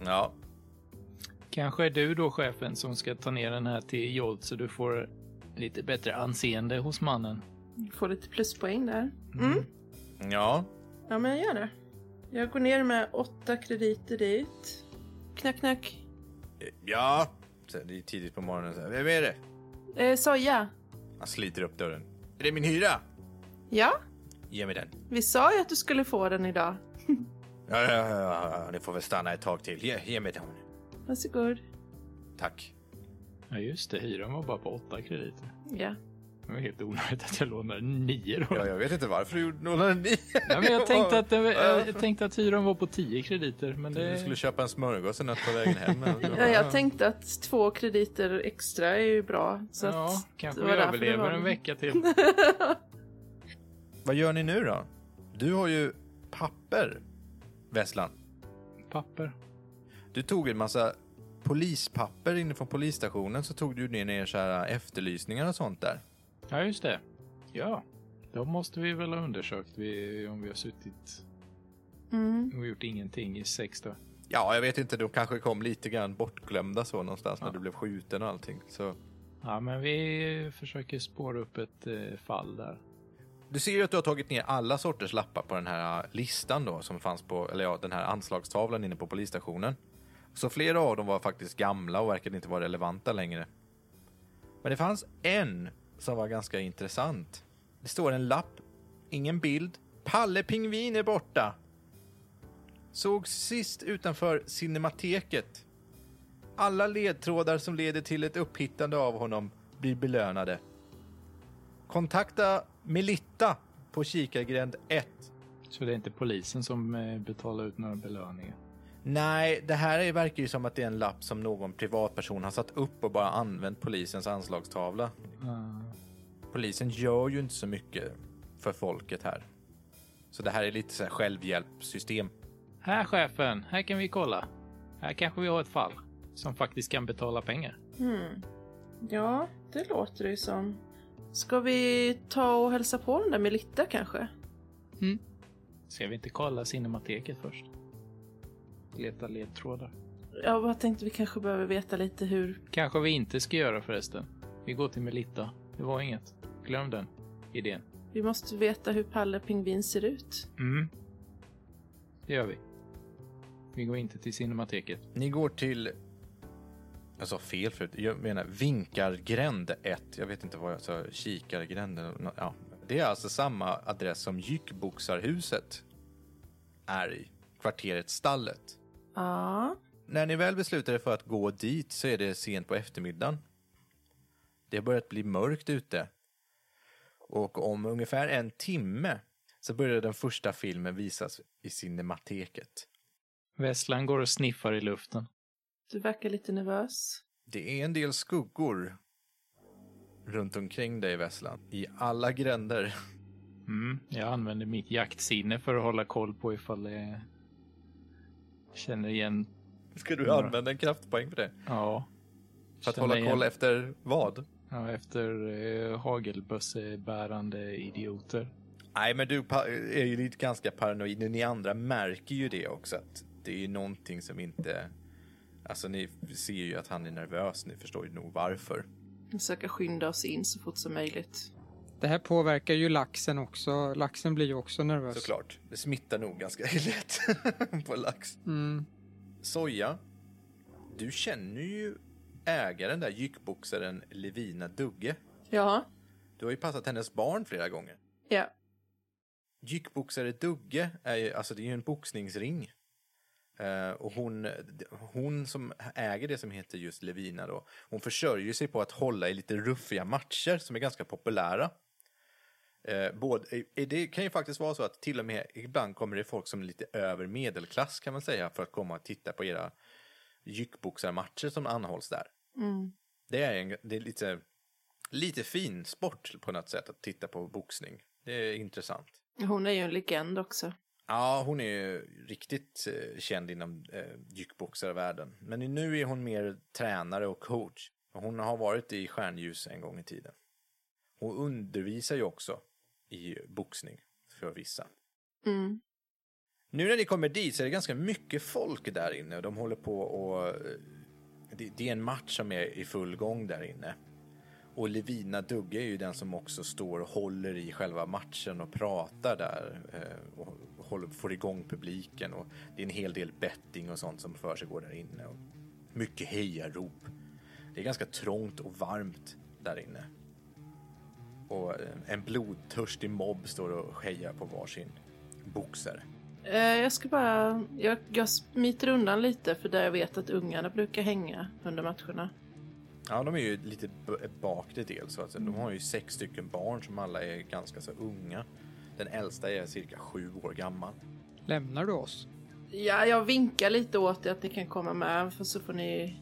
S3: Ja,
S5: Kanske är du då chefen som ska ta ner den här till Jolt så du får lite bättre anseende hos mannen.
S4: Får lite pluspoäng där. Mm.
S3: ja.
S4: Ja, men jag gör det. Jag går ner med åtta krediter dit. Knack, knack.
S3: Ja. Så det är tidigt på morgonen. Så här, Vem är det?
S4: Eh, soja.
S3: Han sliter upp dörren. Är det min hyra?
S4: Ja,
S3: Ge mig den.
S4: vi sa ju att du skulle få den idag.
S3: Ja, ja, ja, ja, ni får väl stanna ett tag till. Ge, ge mig den.
S4: Varsågod.
S3: Tack.
S5: Ja just det, hyran var bara på åtta krediter.
S4: Ja.
S5: Det var helt onödigt att jag lånade nio då.
S3: Ja, jag vet inte varför du gjorde någon ni.
S5: Nej, men jag, tänkte att, den- jag, jag tänkte att hyran var på tio krediter, men
S3: Du
S5: det...
S3: skulle köpa en smörgås eller något på vägen hem.
S4: ja, jag tänkte att två krediter extra är ju bra. Så
S5: Ja,
S4: att
S5: kanske
S4: det var
S5: vi
S4: därför det var-
S5: överlever en vecka till.
S3: Vad gör ni nu då? Du har ju papper, Vesslan.
S5: Papper.
S3: Du tog en massa polispapper inne från polisstationen så tog du ner så här äh, efterlysningar och sånt där.
S5: Ja, just det. Ja, de måste vi väl ha undersökt vi, om vi har suttit
S4: Mm.
S5: och gjort ingenting i sex dagar.
S3: Ja, jag vet inte, de kanske kom lite grann bortglömda så någonstans när du blev skjuten och allting. Så.
S5: Ja, men vi försöker spåra upp ett eh, fall där.
S3: Du ser ju att du har tagit ner alla sorters lappar på den här äh, listan då som fanns på, eller ja, den här anslagstavlan inne på polisstationen. Så flera av dem var faktiskt gamla och verkade inte vara relevanta längre. Men det fanns en som var ganska intressant. Det står en lapp, ingen bild. Palle Pingvin är borta! Såg sist utanför Cinemateket. Alla ledtrådar som leder till ett upphittande av honom blir belönade. Kontakta Melitta på kikargränd 1.
S5: Så det är inte polisen som eh, betalar ut några belöningar.
S3: Nej, det här är- verkar ju som att det är en lapp som någon privatperson har satt upp och bara använt polisens anslagstavla.
S5: Ah,
S3: Polisen gör ju inte så mycket för folket här. Så det här är lite så här självhjälpsystem.
S5: Här chefen, här kan vi kolla. Här kanske vi har ett fall som faktiskt kan betala pengar.
S4: Mm. Ja, det låter det ju som. Ska vi ta och hälsa på den där Melitta kanske?
S5: Ska vi inte kolla Cinemateket först? Leta ledtrådar.
S4: Jag bara tänkte vi kanske behöver veta lite hur...
S5: Kanske vi inte ska göra förresten. Vi går till Melitta. Det var inget. Glöm den idén.
S4: Vi måste veta hur Palle Pingvin ser ut.
S5: Mm. Det gör vi. Vi går inte till Cinemateket.
S3: Ni går till... Jag sa fel förut. Jag menar Vinkargränd 1. Jag vet inte vad jag sa. Kikargränd. eller nå- Ja. Det är alltså samma adress som Jyckboxarhuset är i. Kvarteret Stallet.
S4: Ja.
S3: När ni väl beslutar er för att gå dit så är det sent på eftermiddagen. Det har börjat bli mörkt ute. Och om ungefär en timme så börjar den första filmen visas i Cinemateket.
S5: Vesslan går och sniffar i luften.
S4: Du verkar lite nervös.
S3: Det är en del skuggor runt omkring dig, Vesslan. I alla gränder.
S5: Mm. Jag använder mitt jaktsinne för att hålla koll på ifall det känner igen.
S3: Ska du använda en kraftpoäng för det?
S5: Ja.
S3: För att
S5: Känner
S3: hålla
S5: igen-
S3: koll efter vad?
S5: Ja, efter eh, hagelbössebärande idioter.
S3: Nej, men du pa- är ju lite ganska paranoid. Ni andra märker ju det också. Att det är ju någonting som inte... Alltså ni ser ju att han är nervös. Ni förstår ju nog varför.
S4: Vi försöker skynda oss in så fort som möjligt.
S6: Det här påverkar ju laxen också. Laxen blir ju också nervös.
S3: Såklart. Det smittar nog ganska lätt på lax.
S6: Mm.
S3: Soja. Du känner ju ägaren där, jyckboxaren Levina Dugge.
S4: Ja.
S3: Du har ju passat hennes barn flera gånger.
S4: Ja.
S3: Jyckboxare Dugge är ju, alltså det är ju en boxningsring. Eh, och hon, hon som äger det som heter just Levina då, hon försörjer sig på att hålla i lite ruffiga matcher som är ganska populära. Eh, både, eh, det kan ju faktiskt vara så att till och med ibland kommer det folk som är lite över medelklass kan man säga för att komma och titta på era jyckboxarmatcher som anhålls där.
S4: Mm.
S3: Det är, en, det är lite, lite fin sport på något sätt att titta på boxning. Det är intressant.
S4: Hon är ju en legend också.
S3: Ja, hon är ju riktigt eh, känd inom eh, jyckboxarvärlden. Men nu är hon mer tränare och coach. Hon har varit i stjärnljus en gång i tiden. Hon undervisar ju också i boxning för vissa.
S4: Mm.
S3: Nu när ni kommer dit så är det ganska mycket folk där inne och de håller på och... eh, Det, det är en match som är i full gång där inne. Och Levina Dugge är ju den som också står och håller i själva matchen och pratar där eh, och håller, får igång publiken och det är en hel del betting och sånt som försiggår där inne. Och mycket hejarop. Det är ganska trångt och varmt där inne. Och eh, en blodtörstig mobb står och hejar på varsin boxare.
S4: Eh, jag ska bara... Jag, jag smiter undan lite för där jag vet att ungarna brukar hänga under matcherna.
S3: Ja, de är ju lite b- bakre del så att säga. De har ju sex stycken barn som alla är ganska så unga. Den äldsta är cirka sju år gammal.
S6: Lämnar du oss?
S4: Ja, jag vinkar lite åt er att ni kan komma med för så får ni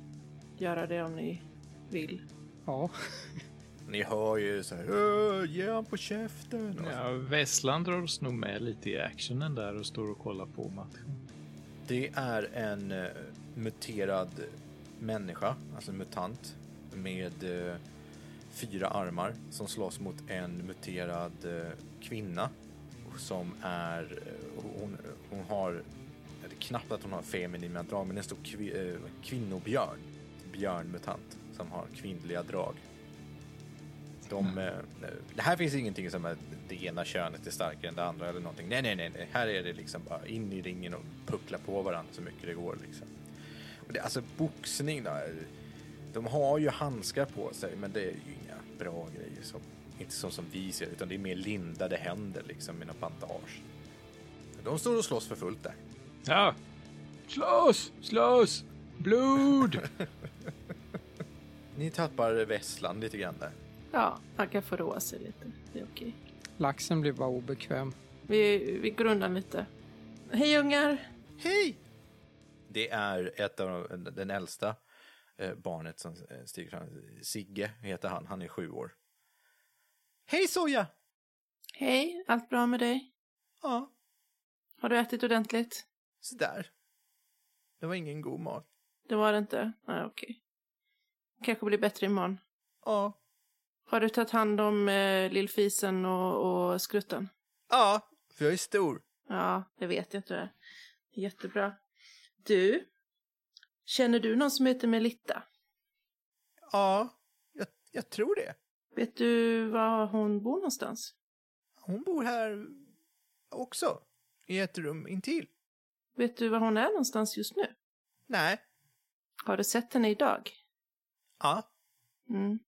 S4: göra det om ni vill.
S6: Ja.
S3: Ni hör ju så här, "Åh, ge han på käften. Och så.
S5: Ja, Vesslan drar oss nog med lite i actionen där och står och kollar på matchen.
S3: Det är en eh, muterad människa, alltså en mutant med eh, fyra armar som slåss mot en muterad eh, kvinna som är, eh, hon, hon har, det är knappt att hon har feminina drag, men det är en stor kvi, eh, kvinnobjörn, björnmutant som har kvinnliga drag. De, eh, det här finns ingenting som att det ena könet är starkare än det andra eller någonting. Nej, nej, nej, nej. här är det liksom bara in i ringen och puckla på varandra så mycket det går liksom. Och det, alltså boxning då. De har ju handskar på sig, men det är ju inga bra grejer. Som, inte så som vi ser utan det är mer lindade händer liksom med något bandage. De står och slåss för fullt där.
S5: Ja! Slåss! Slåss! Blod!
S3: Ni tappar vässlan lite grann där.
S4: Ja, man kan få roa sig lite. Det är okej.
S6: Laxen blir bara obekväm.
S4: Vi, vi går undan lite. Hej ungar!
S3: Hej! Det är ett av de, den äldsta eh, barnet som eh, stiger fram. Sigge heter han, han är sju år. Hej Soja!
S4: Hej, allt bra med dig?
S3: Ja,
S4: Har du ätit ordentligt?
S3: sådär. Det var ingen god mat.
S4: Det var det inte? Nej, okej. Kanske blir bättre imorgon.
S3: Ja,
S4: Har du tagit hand om eh, lillfisen och, och skrutten?
S3: ja, för jag är stor.
S4: Ja, det vet jag att du är. Jättebra. Du, känner du någon som heter Melitta?
S3: Ja, jag, jag tror det.
S4: Vet du var hon bor någonstans?
S3: Hon bor här också, i ett rum intill.
S4: Vet du var hon är någonstans just nu?
S3: Nej,
S4: Har du sett henne idag?
S3: ja,
S4: Mm.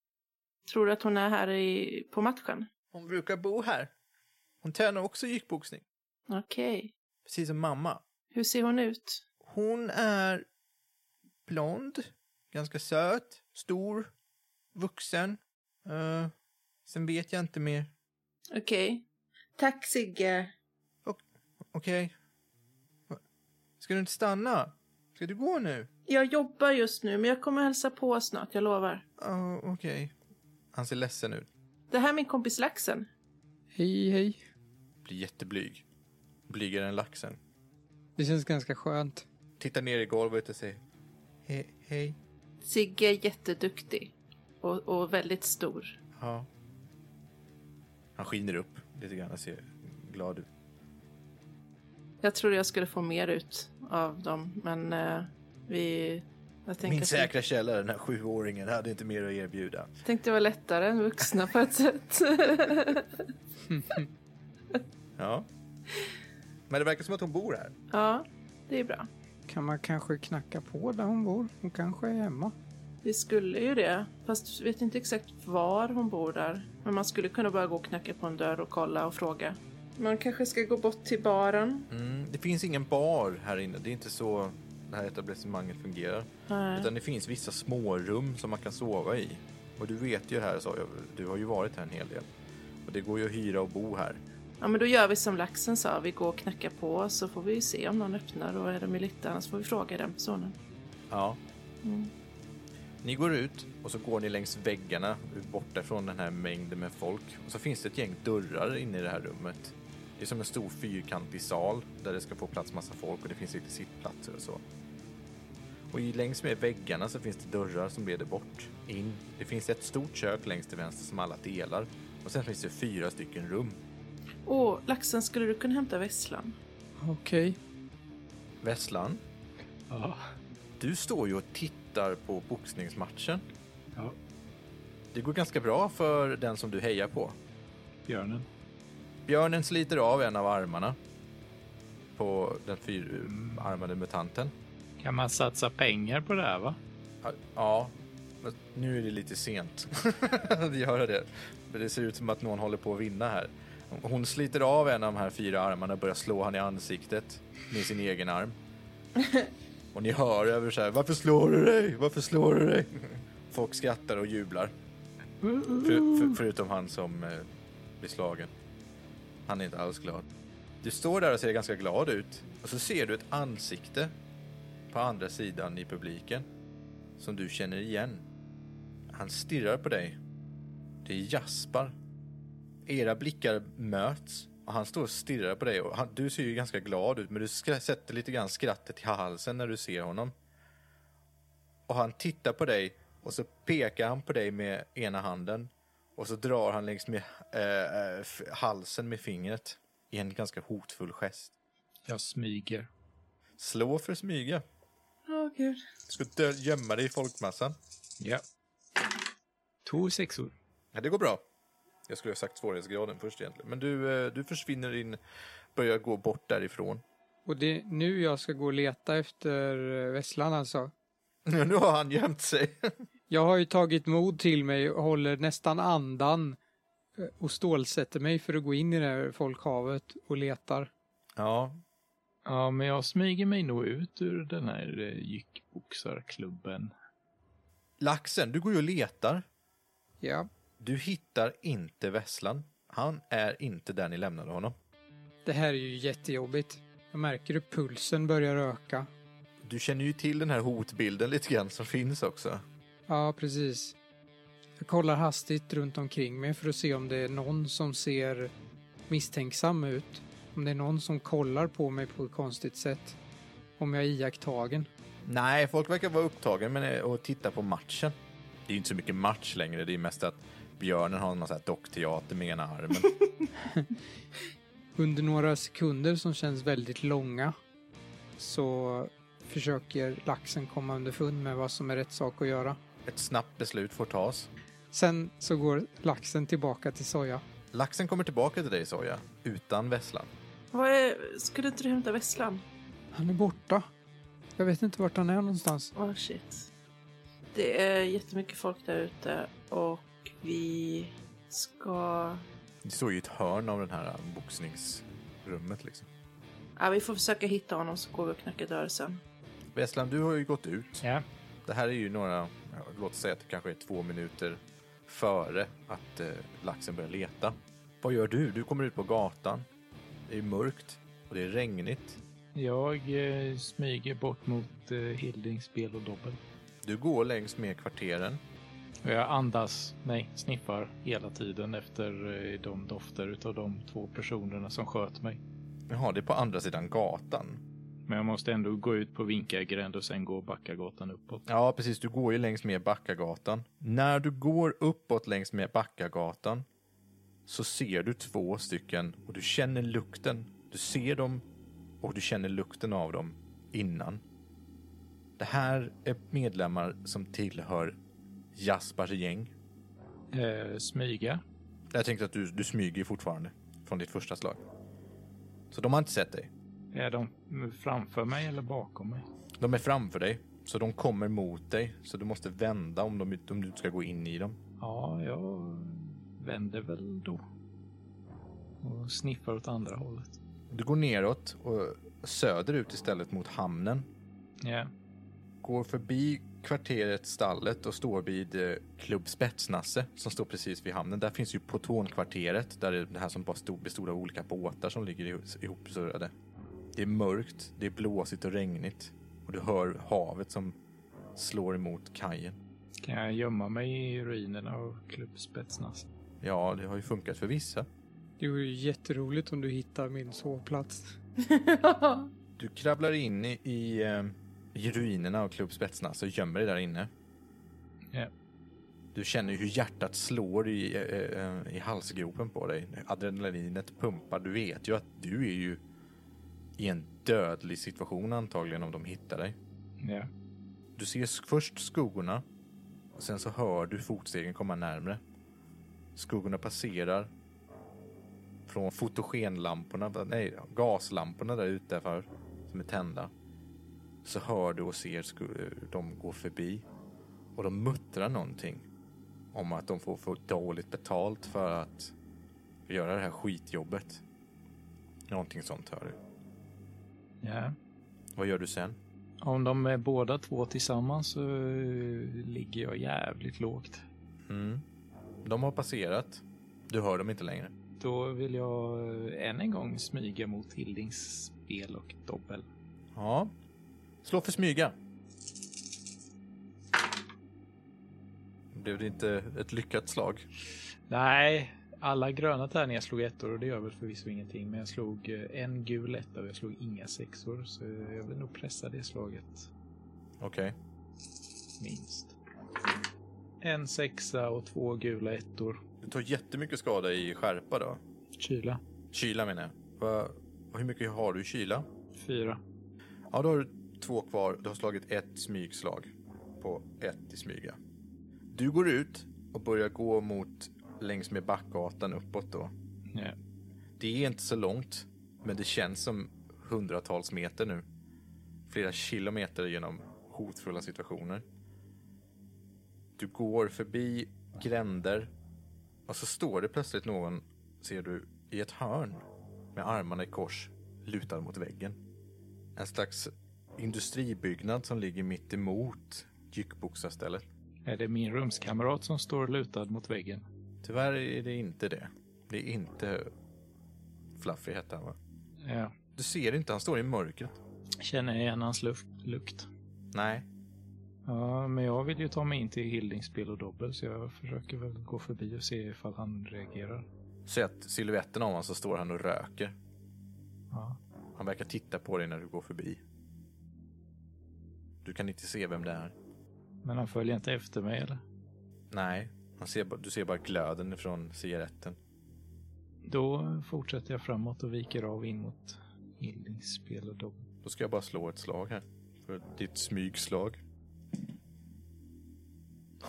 S4: Tror du att hon är här i, på matchen?
S3: hon brukar bo här. Hon tränar också jukeboxning,
S4: Okej.
S3: precis som mamma.
S4: Hur ser hon ut?
S3: Hon är blond, ganska söt, stor, vuxen. Eh, sen vet jag inte mer.
S4: Okej. Tack, Sigge.
S3: Okej. Va- Ska du inte stanna? Ska du gå nu?
S4: Jag jobbar just nu, men jag kommer hälsa på snart, jag lovar.
S3: Ja, okej. Han ser ledsen ut.
S4: Det här är min kompis Laxen.
S6: Hej, hej.
S3: Blir jätteblyg. Blygare än laxen.
S6: Det känns ganska skönt.
S3: Tittar ner i golvet och säger He- hej.
S4: Sigge är jätteduktig och, och väldigt stor.
S3: Ja. Han skiner upp lite grann och ser glad ut.
S4: Jag trodde jag skulle få mer ut av dem, men eh, vi... Jag tänker
S3: Min
S4: att-
S3: säkra källa, den här sjuåringen, hade inte mer att erbjuda.
S4: tänkte det var lättare än vuxna på ett sätt.
S3: Ja. Men det verkar som att hon bor här.
S4: ja, det är bra.
S6: Kan man kanske knacka på där hon bor? Hon kanske är hemma.
S4: Vi skulle ju det, fast vet inte exakt var hon bor där. Men man skulle kunna bara gå och knacka på en dörr och kolla och fråga. Man kanske ska gå bort till baren.
S3: Mm, det finns ingen bar här inne. Det är inte så det här etablissemanget fungerar.
S4: Nej.
S3: Utan det finns vissa smårum som man kan sova i. Och du vet ju det här, sa jag. Du har ju varit här en hel del. Och det går ju att hyra och bo här.
S4: Ja, men då gör vi som laxen sa. Vi går och knackar på så får vi ju se om någon öppnar och är de i lyktan, annars får vi fråga den personen.
S3: Ja. Ni går ut och så går ni längs väggarna borta från den här mängden med folk. Och så finns det ett gäng dörrar inne i det här rummet. Det är som en stor fyrkantig sal där det ska få plats massa folk och det finns lite sittplatser och så. Och i- längs med väggarna så finns det dörrar som leder bort, in. Det finns ett stort kök längst till vänster som alla delar. Och sen finns det fyra stycken rum.
S4: Åh, laxen, skulle du kunna hämta vesslan?
S6: Okej.
S3: Vesslan,
S5: Ja.
S3: du står ju och tittar på boxningsmatchen.
S5: ja.
S3: Det går ganska bra för den som du hejar på.
S5: Björnen.
S3: Björnen sliter av en av armarna på den fyrarmade mutanten.
S5: Kan man satsa pengar på det här va?
S3: Ja, men nu är det lite sent att göra det. Men det ser ut som att någon håller på att vinna här. Hon sliter av en av de här fyra armarna och börjar slå han i ansiktet med sin egen arm. Och ni hör över så här, varför slår du dig? Varför slår du dig? Folk skrattar och jublar. För, för, förutom han som eh, blir slagen. Han är inte alls glad. Du står där och ser ganska glad ut. Och så ser du ett ansikte på andra sidan i publiken som du känner igen. Han stirrar på dig. Det är Jaspar. Era blickar möts och han står och stirrar på dig. Och han, du ser ju ganska glad ut men du skra- sätter lite grann skrattet i halsen när du ser honom. Och han tittar på dig och så pekar han på dig med ena handen och så drar han längs med eh, eh, f- halsen med fingret i en ganska hotfull gest.
S5: Jag smyger.
S3: Slå för att smyga.
S4: Åh gud.
S3: Ska dö- gömma dig i folkmassan.
S5: Ja. Två sexor.
S3: Ja, det går bra. Jag skulle ha sagt svårighetsgraden först egentligen. Men du, eh, du försvinner in, börjar gå bort därifrån.
S6: Och det är nu jag ska gå och leta efter eh, vesslan alltså.
S3: nu har han gömt sig.
S6: Jag har ju tagit mod till mig och håller nästan andan eh, och stålsätter mig för att gå in i det här folkhavet och letar.
S3: ja,
S5: Ja, men jag smyger mig nog ut ur den här eh, jyckboxarklubben.
S3: laxen, du går ju och letar.
S6: Ja,
S3: Du hittar inte Vesslan. Han är inte där ni lämnade honom.
S6: det här är ju jättejobbigt. Jag märker hur pulsen börjar öka.
S3: Du känner ju till den här hotbilden lite grann som finns också.
S6: Ja, precis. Jag kollar hastigt runt omkring mig för att se om det är någon som ser misstänksam ut. Om det är någon som kollar på mig på ett konstigt sätt. Om jag är iakttagen.
S3: Nej, folk verkar vara upptagen med att titta på matchen. Det är ju inte så mycket match längre. Det är mest att björnen har någon sån här dockteater med ena armen.
S6: Under några sekunder som känns väldigt långa så försöker laxen komma underfund med vad som är rätt sak att göra.
S3: Ett snabbt beslut får tas.
S6: Sen så går laxen tillbaka till soja.
S3: Laxen kommer tillbaka till dig, Soja, utan Vesslan.
S4: Vad är... Skulle inte du hämta vesslan?
S6: Han är borta. Jag vet inte vart han är någonstans.
S4: Åh shit. Det är jättemycket folk där ute och vi ska...
S3: Det står ju i ett hörn av den här äh, boxningsrummet. Liksom.
S4: Ja, vi får försöka hitta honom så går vi och knackar dörr sen.
S3: Vesslan, du har ju gått ut.
S5: Ja.
S3: Det här är ju några, ja, låt säga att det kanske är två minuter före att eh, laxen börjar leta. Vad gör du? Du kommer ut på gatan. Det är mörkt och det är regnigt.
S5: Jag eh, smyger bort mot eh, Hildings spel och dobbel.
S3: Du går längs med kvarteren.
S5: Och jag andas, nej, sniffar hela tiden efter eh, de dofter utav de två personerna som sköt mig.
S3: Jaha, det är på andra sidan gatan.
S5: Men jag måste ändå gå ut på Vinkargränd och sen gå Backagatan uppåt.
S3: Ja, precis. Du går ju längs med Backagatan. När du går uppåt längs med Backagatan så ser du två stycken och du känner lukten. Du ser dem och du känner lukten av dem innan. Det här är medlemmar som tillhör Jaspars gäng.
S5: Eh, smyga.
S3: Jag tänkte att du, du smyger fortfarande från ditt första slag. Så de har inte sett dig.
S5: Är de framför mig eller bakom mig?
S3: De är framför dig, så de kommer mot dig. Så du måste vända om, de, om du ska gå in i dem.
S5: Ja, jag vänder väl då. Och sniffar åt andra hållet.
S3: Du går neråt och söderut istället mot hamnen.
S5: Ja,
S3: Går förbi kvarteret Stallet och står vid eh, Klubb Spetsnasse som står precis vid hamnen. Där finns ju Potonkvarteret, där det är det här som bara stod, bestod av olika båtar som ligger ihop- ihopsurrade. Det är mörkt, det är blåsigt och regnigt och du hör havet som slår emot kajen.
S5: kan jag gömma mig i ruinerna av klubbspetsnas?
S3: Ja, det har ju funkat för vissa.
S6: Det vore ju jätteroligt om du hittar min sovplats.
S3: Du kravlar in i, i, eh, i ruinerna av Klubb Spetsnasse och gömmer dig där inne.
S5: Ja.
S3: Du känner ju hur hjärtat slår i, eh, eh, i halsgropen på dig. Adrenalinet pumpar. Du vet ju att du är ju i en dödlig situation antagligen om de hittar dig.
S5: Ja.
S3: Du ser s- först skuggorna. Och sen så hör du fotstegen komma närmre. Skuggorna passerar. Från fotogenlamporna, va- nej, gaslamporna där ute för, som är tända. Så hör du och ser sku- de gå förbi. Och de muttrar någonting. Om att de får för dåligt betalt för att göra det här skitjobbet. Någonting sånt hör du.
S5: ja.
S3: Vad gör du sen?
S5: Om de är båda två tillsammans så eh, ligger jag jävligt lågt.
S3: Mm. De har passerat. Du hör dem inte längre.
S5: Då vill jag eh, än en gång smyga mot Hildings spel och dobbel.
S3: Ja. Slå för smyga. Blev det inte ett lyckat slag?
S5: Nej, alla gröna tärningar slog ettor och det gör väl förvisso ingenting. Men jag slog eh, en gul etta och jag slog inga sexor. Så jag vill nog pressa det slaget
S3: Okej.
S5: minst. En sexa och två gula ettor.
S3: Du tar jättemycket skada i skärpa då.
S5: Kyla.
S3: Kyla menar jag. Va, hur mycket har du i kyla?
S5: Fyra.
S3: Ja, då har du två kvar. Du har slagit ett smygslag på ett i smyga. Du går ut och börjar gå mot längs med backgatan uppåt då.
S5: Ja.
S3: Det är inte så långt, men det känns som hundratals meter nu. Flera kilometer genom hotfulla situationer. Du går förbi gränder och så står det plötsligt någon, ser du, i ett hörn med armarna i kors, lutad mot väggen. En slags industribyggnad som ligger mitt emot jyckboxarstället.
S5: Är det min rumskamrat som står lutad mot väggen?
S3: Tyvärr är det inte det. Det är inte Fluffy hette han va?
S5: Ja.
S3: Du ser inte, han står i mörkret.
S5: Känner jag igen hans luft, lukt?
S3: Nej,
S5: Ja, men jag vill ju ta mig in till Hildings spel och dobbel så jag försöker väl gå förbi och se ifall han reagerar.
S3: Se att siluetten av honom så står han och röker.
S5: Ja.
S3: Han verkar titta på dig när du går förbi. Du kan inte se vem det är.
S5: Men han följer inte efter mig eller?
S3: Nej, han ser, ba- du ser bara glöden från cigaretten.
S5: Då fortsätter jag framåt och viker av in mot Hildings spel och dobbel.
S3: Då ska jag bara slå ett slag här. För ditt smygslag.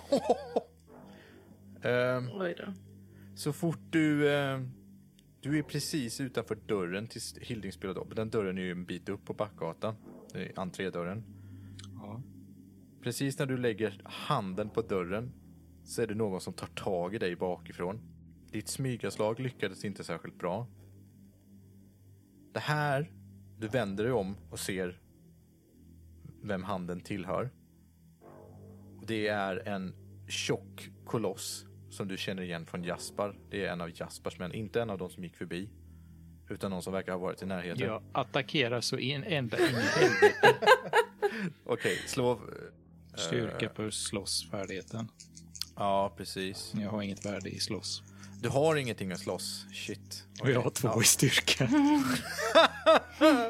S3: Ehm,
S4: Oj då.
S3: Så fort du... Eh, du är precis utanför dörren till Hildings spelade Den dörren är ju en bit upp på Backgatan. Det är entrédörren.
S5: Ja.
S3: Precis när du lägger handen på dörren så är det någon som tar tag i dig bakifrån. Ditt smygaslag lyckades inte särskilt bra. Det här, du vänder dig om och ser vem handen tillhör. Det är en tjock koloss som du känner igen från Jaspar. Det är en av Jaspars män, inte en av de som gick förbi. Utan någon som verkar ha varit i närheten.
S5: Jag attackerar så in ända in i helvete.
S3: Okej, slå...
S5: Styrka på slåssfärdigheten.
S3: Ja, precis.
S5: Jag har inget värde i slåss.
S3: Du har ingenting att slåss. Shit.
S5: Och jag har två i styrka.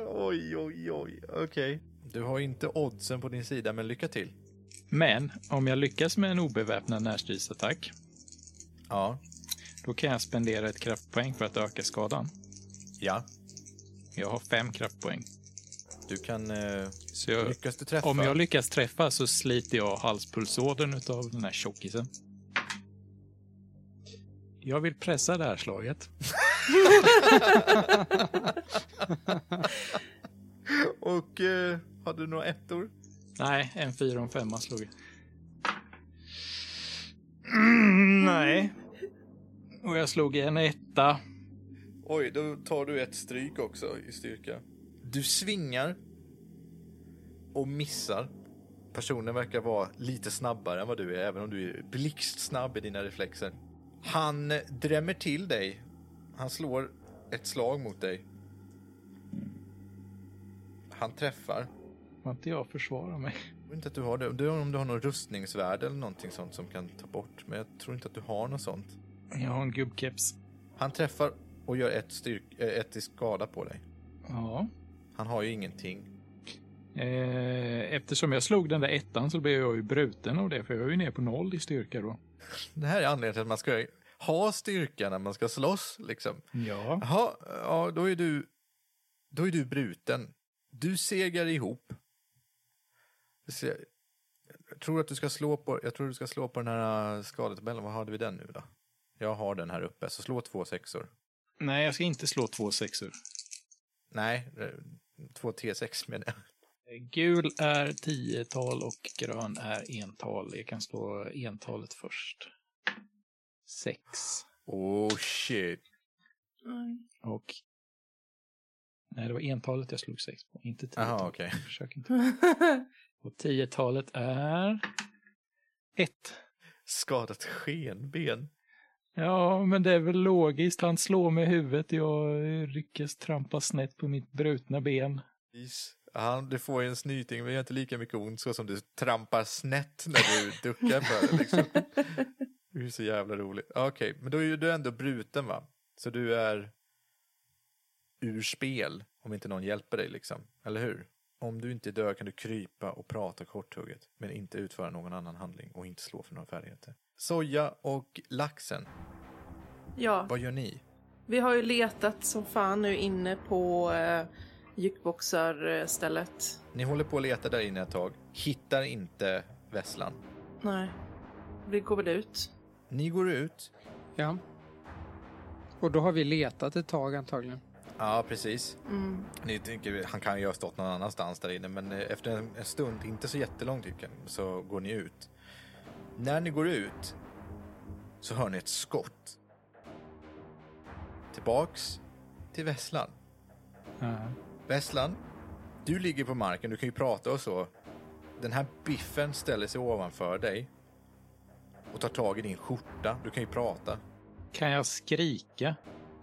S3: Oj, oj, oj. Okej. Du har inte oddsen på din sida, men lycka till.
S5: Men om jag lyckas med en obeväpnad närstridsattack,
S3: Ja.
S5: då kan jag spendera ett kraftpoäng för att öka skadan.
S3: Ja.
S5: Jag har fem kraftpoäng.
S3: Du kan... Eh,
S5: Så jag,
S3: lyckas du träffa?
S5: om jag lyckas träffa så sliter jag halspulsådern av den här tjockisen. Jag vill pressa det här slaget.
S3: Och eh, har du några ettor?
S5: Nej, en fyra och en femma slog jag. Mm, nej. Och jag slog en etta.
S3: Oj, då tar du ett stryk också i styrka. Du svingar och missar. Personen verkar vara lite snabbare än vad du är, även om du är blixtsnabb i dina reflexer. Han eh, drämmer till dig. Han slår ett slag mot dig. Han träffar.
S5: Får inte jag försvara mig?
S3: Jag tror inte att du har det. Du, om du har någon rustningsvärde eller någonting sånt som kan ta bort. Men jag tror inte att du har något sånt.
S5: Jag har en gubbkeps.
S3: Han träffar och gör ett, styrk, eh, ett i skada på dig.
S5: Ja.
S3: Han har ju ingenting.
S5: Eh, eftersom jag slog den där ettan så blev jag ju bruten av det, för jag är ju ner på noll i styrka då.
S3: Det här är anledningen till att man ska ha styrka när man ska slåss. Liksom.
S5: Ja.
S3: Jaha, ja, då är du, då är du bruten. Du segar ihop. Jag ser- Jag tror att du ska slå på, jag tror du ska slå på den här eh, skadetabellen. Vad hade vi den nu då? Jag har den här uppe, så slå två sexor.
S5: Nej, jag ska inte slå två sexor.
S3: Nej, eh, två T6 menar jag.
S5: Eh, Gul är tiotal och grön är ental. Jag kan slå entalet först. Sex.
S3: Oh shit.
S4: Mm.
S5: Och... Nej, det var entalet jag slog sex på, inte tiotalet.
S3: Jaha, okej.
S5: Försök inte. Och tiotalet är... Ett.
S3: Skadat skenben.
S5: Ja, men det är väl logiskt. Han slår mig i huvudet. Jag ryckas trampa snett på mitt brutna ben.
S3: Is. Han, du får ju en snyting, men det gör inte lika mycket ont så som du trampar snett när du duckar för det. Liksom. Det är så jävla roligt. Okej, men då är ju du ändå bruten va? Så du är ur spel om inte någon hjälper dig liksom, eller hur? Om du inte dör kan du krypa och prata korthugget, men inte utföra någon annan handling och inte slå för några färdigheter. Soja och laxen,
S4: ja,
S3: vad gör ni?
S4: Vi har ju letat som fan nu inne på eh, jukeboxarstället.
S3: Ni håller på att leta där inne ett tag, hittar inte vesslan.
S4: Nej, vi går väl ut.
S3: Ni går ut
S6: Ja. Och då har vi letat ett tag antagligen.
S3: Ja, precis. Ni tänker, han kan ju ha stått någon annanstans där inne, men eh, efter en, en stund, inte så jättelång tycker jag, så går ni ut. När ni går ut så hör ni ett skott. Tillbaks till Vesslan.
S5: Ja.
S3: Vesslan, du ligger på marken, du kan ju prata och så. Den här biffen ställer sig ovanför dig och tar tag i din skjorta. Du kan ju prata.
S5: Kan jag skrika?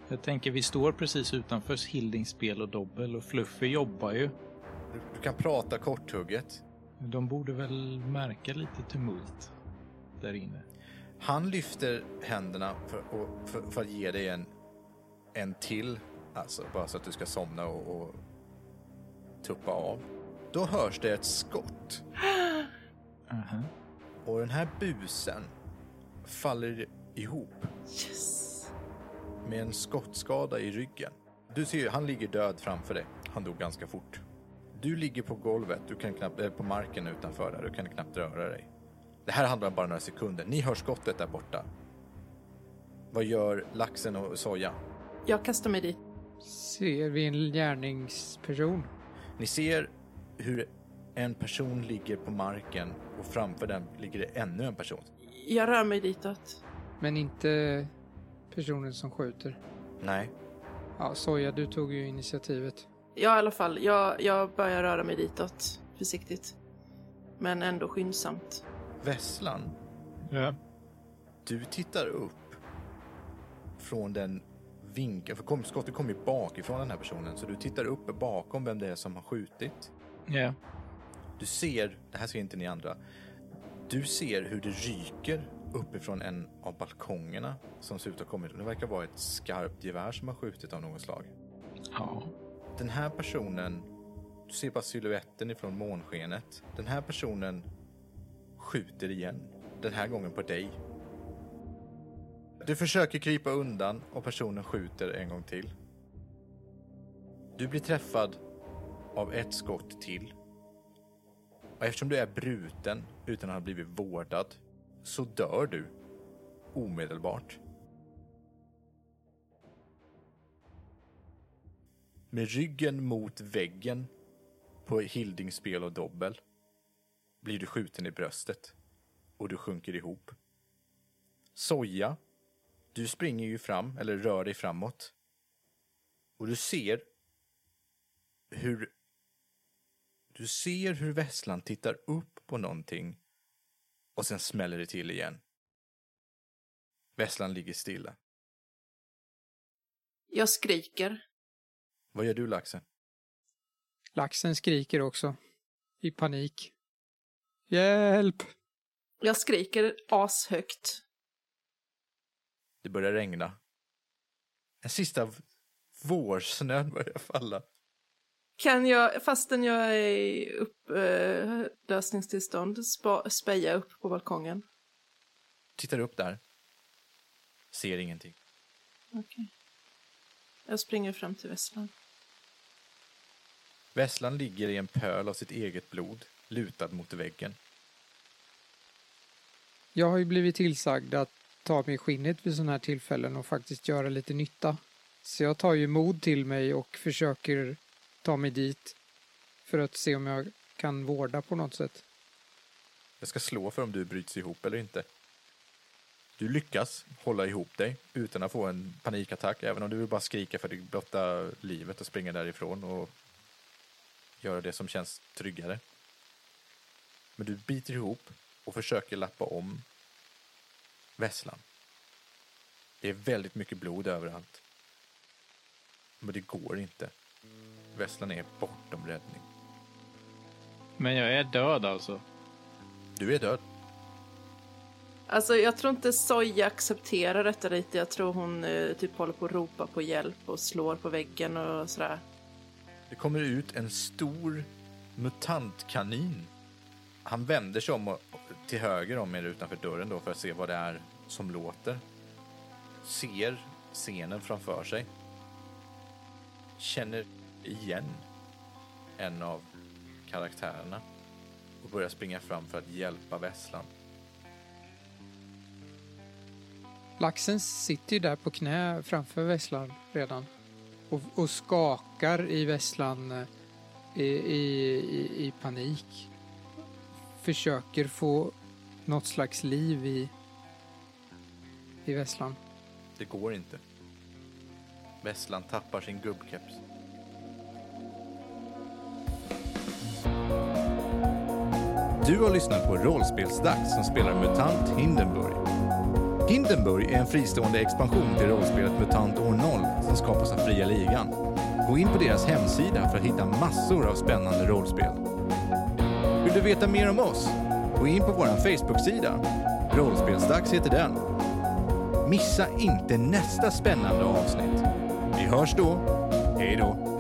S5: Jag tänker, vi står precis utanför Hildings spel och dobbel och Fluffy jobbar ju.
S3: Du, du kan prata korthugget.
S5: De borde väl märka lite tumult där inne.
S3: Han lyfter händerna för, och, för, för att ge dig en, en till. Alltså bara så att du ska somna och, och tuppa av. Då hörs det ett skott
S5: Aha.
S3: och den här busen faller ihop
S4: Yes!
S3: med en skottskada i ryggen. Du ser ju, han ligger död framför dig. Han dog ganska fort. Du ligger på golvet, du kan knappt, eller på marken utanför där, du kan knappt röra dig. Det här handlar om bara några sekunder. Ni hör skottet där borta. Vad gör laxen och soja?
S4: Jag kastar mig dit.
S6: Ser vi en gärningsperson?
S3: Ni ser hur en person ligger på marken och framför den ligger det ännu en person.
S4: Jag rör mig ditåt.
S6: Men inte personen som skjuter.
S3: Nej.
S6: Ja, Soja, du tog ju initiativet.
S4: Ja, i alla fall. Jag, jag börjar röra mig ditåt. Försiktigt. Men ändå skyndsamt.
S3: Vesslan,
S5: Ja.
S3: du tittar upp från den vinkeln, för kom, skottet kommer ju bakifrån den här personen, så du tittar upp bakom vem det är som har skjutit.
S5: Ja.
S3: Du ser, det här ser inte ni andra, du ser hur det ryker uppifrån en av balkongerna som ser ut att ha kommit. Det verkar vara ett skarpt gevär som har skjutit av något slag.
S5: ja.
S3: Den här personen, du ser bara siluetten ifrån månskenet. Den här personen skjuter igen. Den här gången på dig. Du försöker krypa undan och personen skjuter en gång till. Du blir träffad av ett skott till. Och eftersom du är bruten utan att ha blivit vårdad så dör du omedelbart. med ryggen mot väggen på Hildings spel och dobbel blir du skjuten i bröstet och du sjunker ihop. Soja, du springer ju fram, eller rör dig framåt. Och du ser hur... Du ser hur vässlan tittar upp på någonting och sen smäller det till igen. Vässlan ligger stilla.
S4: Jag skriker.
S3: Vad gör du, Laxen?
S6: Laxen skriker också. I panik. Hjälp!
S4: Jag skriker ashögt.
S3: Det börjar regna. En sista v- vårsnön börjar falla.
S4: Kan jag, fastän jag är i upplösningstillstånd, spa, speja upp på balkongen?
S3: Tittar upp där. Ser ingenting.
S4: Okej. Jag springer fram till Vesslan.
S3: Vesslan ligger i en pöl av sitt eget blod, lutad mot väggen.
S6: Jag har ju blivit tillsagd att ta mig i skinnet vid sådana här tillfällen och faktiskt göra lite nytta. Så jag tar ju mod till mig och försöker ta mig dit för att se om jag kan vårda på något sätt.
S3: Jag ska slå för om du bryts ihop eller inte. Du lyckas hålla ihop dig utan att få en panikattack, även om du vill bara skrika för det blotta livet och springa därifrån och göra det som känns tryggare. Men du biter ihop och försöker lappa om vesslan. Det är väldigt mycket blod överallt. Men det går inte. Vesslan är bortom räddning.
S5: Men jag är död alltså.
S3: Du är död.
S4: Alltså jag tror inte Soja accepterar detta lite. Jag tror hon eh, typ håller på att ropa på hjälp och slår på väggen och sådär.
S3: Det kommer ut en stor mutantkanin. Han vänder sig om och, till höger om er utanför dörren då för att se vad det är som låter. Ser scenen framför sig. Känner igen en av karaktärerna och börjar springa fram för att hjälpa Vesslan.
S6: Laxen sitter ju där på knä framför vesslan redan och, och skakar i vesslan eh, i, i, i, i panik. Försöker få något slags liv i, i vesslan.
S3: Det går inte. Vesslan tappar sin gubbkeps.
S1: Du har lyssnat på Rollspelsdags som spelar MUTANT Hindenburg.
S2: Hindenburg är en fristående expansion till rollspelet MUTANT år 0 som skapas av Fria Ligan. Gå in på deras hemsida för att hitta massor av spännande rollspel. Vill du veta mer om oss? Gå in på vår Facebook-sida. Rollspelsdags heter den. Missa inte nästa spännande avsnitt. Vi hörs då. Hej då.